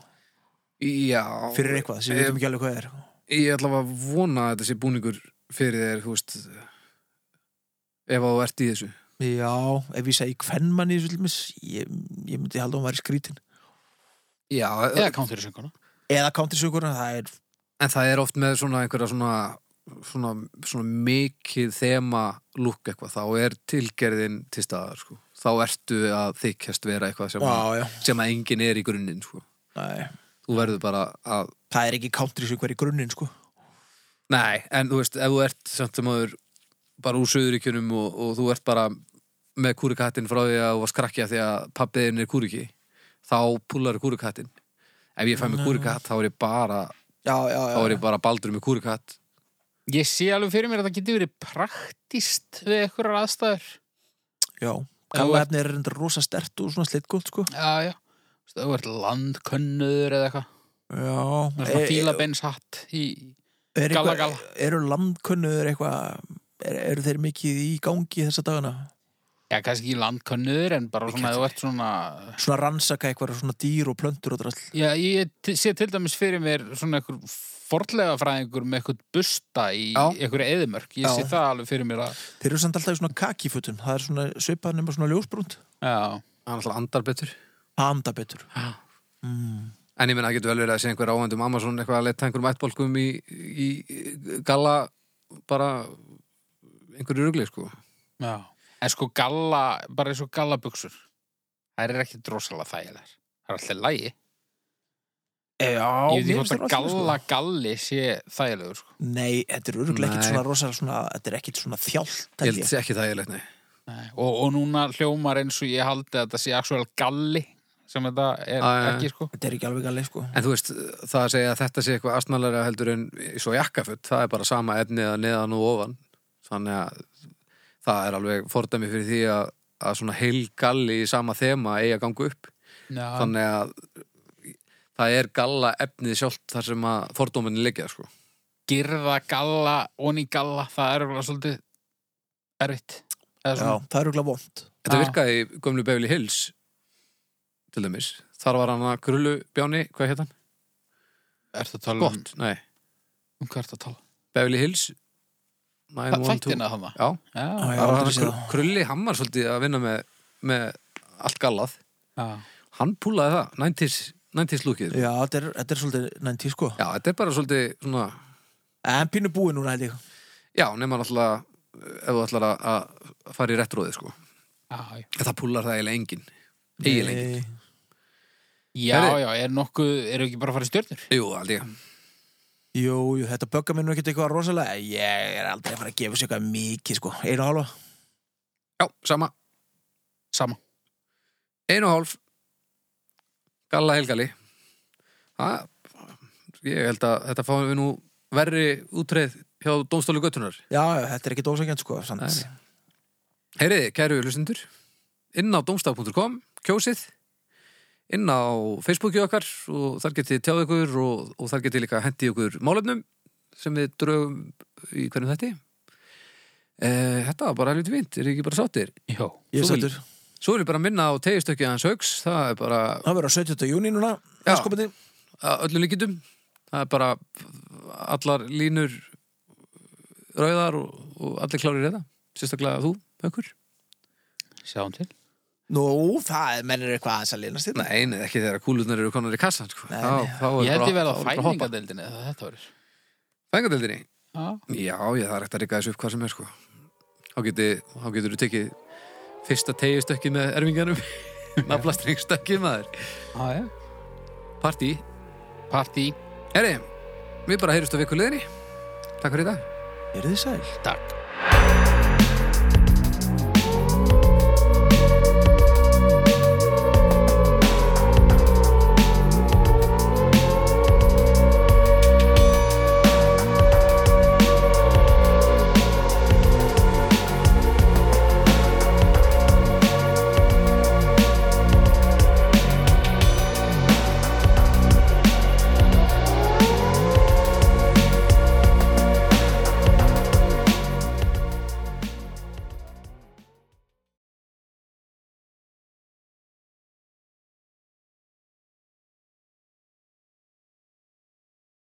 [SPEAKER 2] já,
[SPEAKER 1] fyrir eitthvað sem við veitum ekki alveg hvað er
[SPEAKER 2] ég ætla að vona að þetta sé búningur fyrir þér, þú veist ef að þú ert í þessu
[SPEAKER 1] já, ef ég segi kvennmann í þessu til dæmis, ég, ég myndi halda að hún var í skrítin
[SPEAKER 2] Já,
[SPEAKER 3] Eða country sönguna
[SPEAKER 1] eða countrysökurinn, það er
[SPEAKER 2] en það er oft með svona einhverja svona, svona, svona mikið þema lúk eitthvað, þá er tilgerðin til staðar, sko. Þá ertu að þykjast vera eitthvað sem, að,
[SPEAKER 1] já, já.
[SPEAKER 2] sem að enginn er í grunninn, sko.
[SPEAKER 1] Nei,
[SPEAKER 2] Þú verður bara að,
[SPEAKER 1] það er ekki countrysökur í grunninn sko.
[SPEAKER 2] nei, en þú veist, ef þú ert samt sem aður bara úr söðuríkjunum og, og þú ert bara með kúrikattin frá því að þú varst krakkja því að pappiðin er kúriki, þá púlar kúrikattin. Ef ég fæ mig kúrikatt, þá er ég bara,
[SPEAKER 1] já, já,
[SPEAKER 2] þá er ég bara baldur með kúrikatt.
[SPEAKER 3] Ég sé alveg fyrir mér að það getur verið praktist við einhverjar aðstæður
[SPEAKER 1] já. Gallaefni er reyndar rosa stert og svona slitgótt sko.
[SPEAKER 3] Já, já Þú veist, ef Þú ert landkönnur eða eitthvað
[SPEAKER 1] Já
[SPEAKER 3] Það er
[SPEAKER 1] E-
[SPEAKER 2] Eh,
[SPEAKER 3] svona fílabeins hatt í...
[SPEAKER 1] er eitthvað-
[SPEAKER 3] galla, galla.
[SPEAKER 1] Eru landkunnuður eitthvað er, Eru þeir mikið í gangi þessa dagana
[SPEAKER 3] Já, kannski ekki landkönnur en bara
[SPEAKER 2] Í
[SPEAKER 3] svona ef þú ert svona
[SPEAKER 1] Svona rannsaka eitthvað svona dýr og plöntur og drall
[SPEAKER 3] Já, ég t- sé til dæmis fyrir mér svona einhver forlega fræðingur með eitthvað busta í
[SPEAKER 2] Já.
[SPEAKER 3] einhverju eðimörk Ég
[SPEAKER 1] Já.
[SPEAKER 3] sé það alveg fyrir mér að
[SPEAKER 1] Þeir eru samt alltaf í svona kakifutum Það er svona svipað nema svona ljósbrúnt
[SPEAKER 3] Já,
[SPEAKER 2] Hann alltaf andar betur.
[SPEAKER 1] Það anda betur
[SPEAKER 2] En ég meina, það getur vel verið að sé einhver áhændum Amazon eitthvað að leta einhverjum ættbólkum í, í gala bara einhverju rugli, sko.
[SPEAKER 3] já En sko galla, bara eins og gallabuxur Það er ekki drosalega þægilegar Það er alltaf lægi
[SPEAKER 1] e, Já,
[SPEAKER 3] Ég veit
[SPEAKER 1] mér
[SPEAKER 3] ekki
[SPEAKER 1] finnst
[SPEAKER 3] hvort
[SPEAKER 1] þeir
[SPEAKER 3] að
[SPEAKER 1] allir, sko.
[SPEAKER 3] galla galli sé þægilegur sko.
[SPEAKER 1] Nei, þetta er örgulega ekkit
[SPEAKER 2] Nei.
[SPEAKER 1] svona rosa svona, Þetta er ekkit svona þjált
[SPEAKER 2] Ég
[SPEAKER 1] held
[SPEAKER 2] held
[SPEAKER 1] ég.
[SPEAKER 2] þessi ekki það ég leitt, nei.
[SPEAKER 3] Nei, og, og núna hljómar eins og ég haldi að þetta sé actual galli sem þetta er
[SPEAKER 2] Já, já, já.
[SPEAKER 3] ekki sko
[SPEAKER 1] Þetta er ekki alveg galið, sko.
[SPEAKER 2] En þú veist, það að segja að þetta sé eitthvað astnalara heldur en svo jakkafutt, það er bara sama efnið að neðan og ofan. Þannig að það er alveg fordæmi fyrir því að, að svona heilgalli í sama þema eigi að ganga upp.
[SPEAKER 3] já,
[SPEAKER 2] Þannig að það er galla efnið sjálft þar sem að fordóminni liggja, sko.
[SPEAKER 3] girða galla, onni galla það er alveg svolítið erfitt eða
[SPEAKER 1] Já,
[SPEAKER 3] svona,
[SPEAKER 1] það er auðvitað vond.
[SPEAKER 2] Þetta
[SPEAKER 3] Já.
[SPEAKER 2] virkaði í gömlu Beverly Hills, til dæmis. Þar var hann að grullu bjáni, hvað hétt hann?
[SPEAKER 3] ertu að tala um,
[SPEAKER 2] Gott, nei.
[SPEAKER 3] um hvað ertu að tala
[SPEAKER 2] Beverly Hills,
[SPEAKER 3] Þa-
[SPEAKER 2] 912.
[SPEAKER 3] þættina þannig
[SPEAKER 2] Já,
[SPEAKER 1] Já,
[SPEAKER 3] já,
[SPEAKER 1] já,
[SPEAKER 2] Það var
[SPEAKER 1] aldrei
[SPEAKER 2] hann
[SPEAKER 1] séð
[SPEAKER 2] kru-
[SPEAKER 1] það.
[SPEAKER 2] krulli hammar svolítið að vinna með, með allt gallað.
[SPEAKER 3] já.
[SPEAKER 2] Hann púlaði það, 90s, 90s lúkið.
[SPEAKER 1] Já, þetta er, þetta er svolítið 90, sko.
[SPEAKER 2] Já, þetta er bara svolítið svona,
[SPEAKER 1] En pínu búið núna, held ég.
[SPEAKER 2] já, nema náttúrulega eh, ef þú ætlar að- að fara í réttróði, sko.
[SPEAKER 3] já, já.
[SPEAKER 2] En það púlar það eiginlega enginn. Eiginlega enginn.
[SPEAKER 1] Nei.
[SPEAKER 3] já,
[SPEAKER 2] Herri.
[SPEAKER 3] já, er nokkuð eru ekki bara að fara í stjörnur
[SPEAKER 2] Jú, aldrei.
[SPEAKER 1] Jú, jú, þetta böggar mér nú ekkert eitthvað rosalega. Ég er aldrei að fara að gefa sér eitthvað mikið, sko. Einu og halva.
[SPEAKER 2] Já, sama.
[SPEAKER 3] sama,
[SPEAKER 2] Einu og hálf. Galla helgali. Það, ég held að þetta fáum við nú verri útreið hjá Dómstólu Götunar.
[SPEAKER 1] Já, já, þetta er ekkert ósakjönd, sko. sant.
[SPEAKER 2] Nei. Heyriði, kæru hlustendur, inn á domstaf.com, kjósið, inn á Facebooki okkar og þar getið tjáð ykkur og, og þar getið líka hendi ykkur málefnum sem við draugum í hvernig þetta. E, þetta var bara helviti fínt, er ekki bara sáttir.
[SPEAKER 3] já,
[SPEAKER 1] Ég er
[SPEAKER 2] Svo vil-
[SPEAKER 1] sættur.
[SPEAKER 2] Svo vil ég bara minna á tegistökið hans haugs, það er bara
[SPEAKER 1] Það verður á 17. júni núna.
[SPEAKER 2] Já.
[SPEAKER 1] Þarskopandi.
[SPEAKER 2] að öllum líkindum, það er bara allar línur rauðar og, og allir klárir þetta, sérstaklega þú, Haukur.
[SPEAKER 3] sjáum til
[SPEAKER 1] Nú, það er mennir eitthvað aðeins að hérna. linast þetta.
[SPEAKER 2] Nei, nei, ekki þegar kúlurnar eru konar í kassan sko.
[SPEAKER 1] Nei,
[SPEAKER 2] þá,
[SPEAKER 1] nei.
[SPEAKER 2] þá er
[SPEAKER 3] ég held ég
[SPEAKER 2] bara-
[SPEAKER 3] verða
[SPEAKER 2] þá
[SPEAKER 3] á
[SPEAKER 2] er bara að hoppa.
[SPEAKER 3] fæningadeildinni eða þetta verður
[SPEAKER 2] Fæðingadeildinni?
[SPEAKER 3] já,
[SPEAKER 2] Já, ég það er ekkert að rika þessu upp hvað sem er sko. þá, geti, þá getur þú tekið fyrsta tegjastökki með erfinganum naflastringstökki maður
[SPEAKER 3] já, já
[SPEAKER 2] Partí
[SPEAKER 3] partí,
[SPEAKER 2] Herri, við bara heyrjumst á vikuleðinni Takk fyrir í dag
[SPEAKER 1] Er þið sæl?
[SPEAKER 3] takk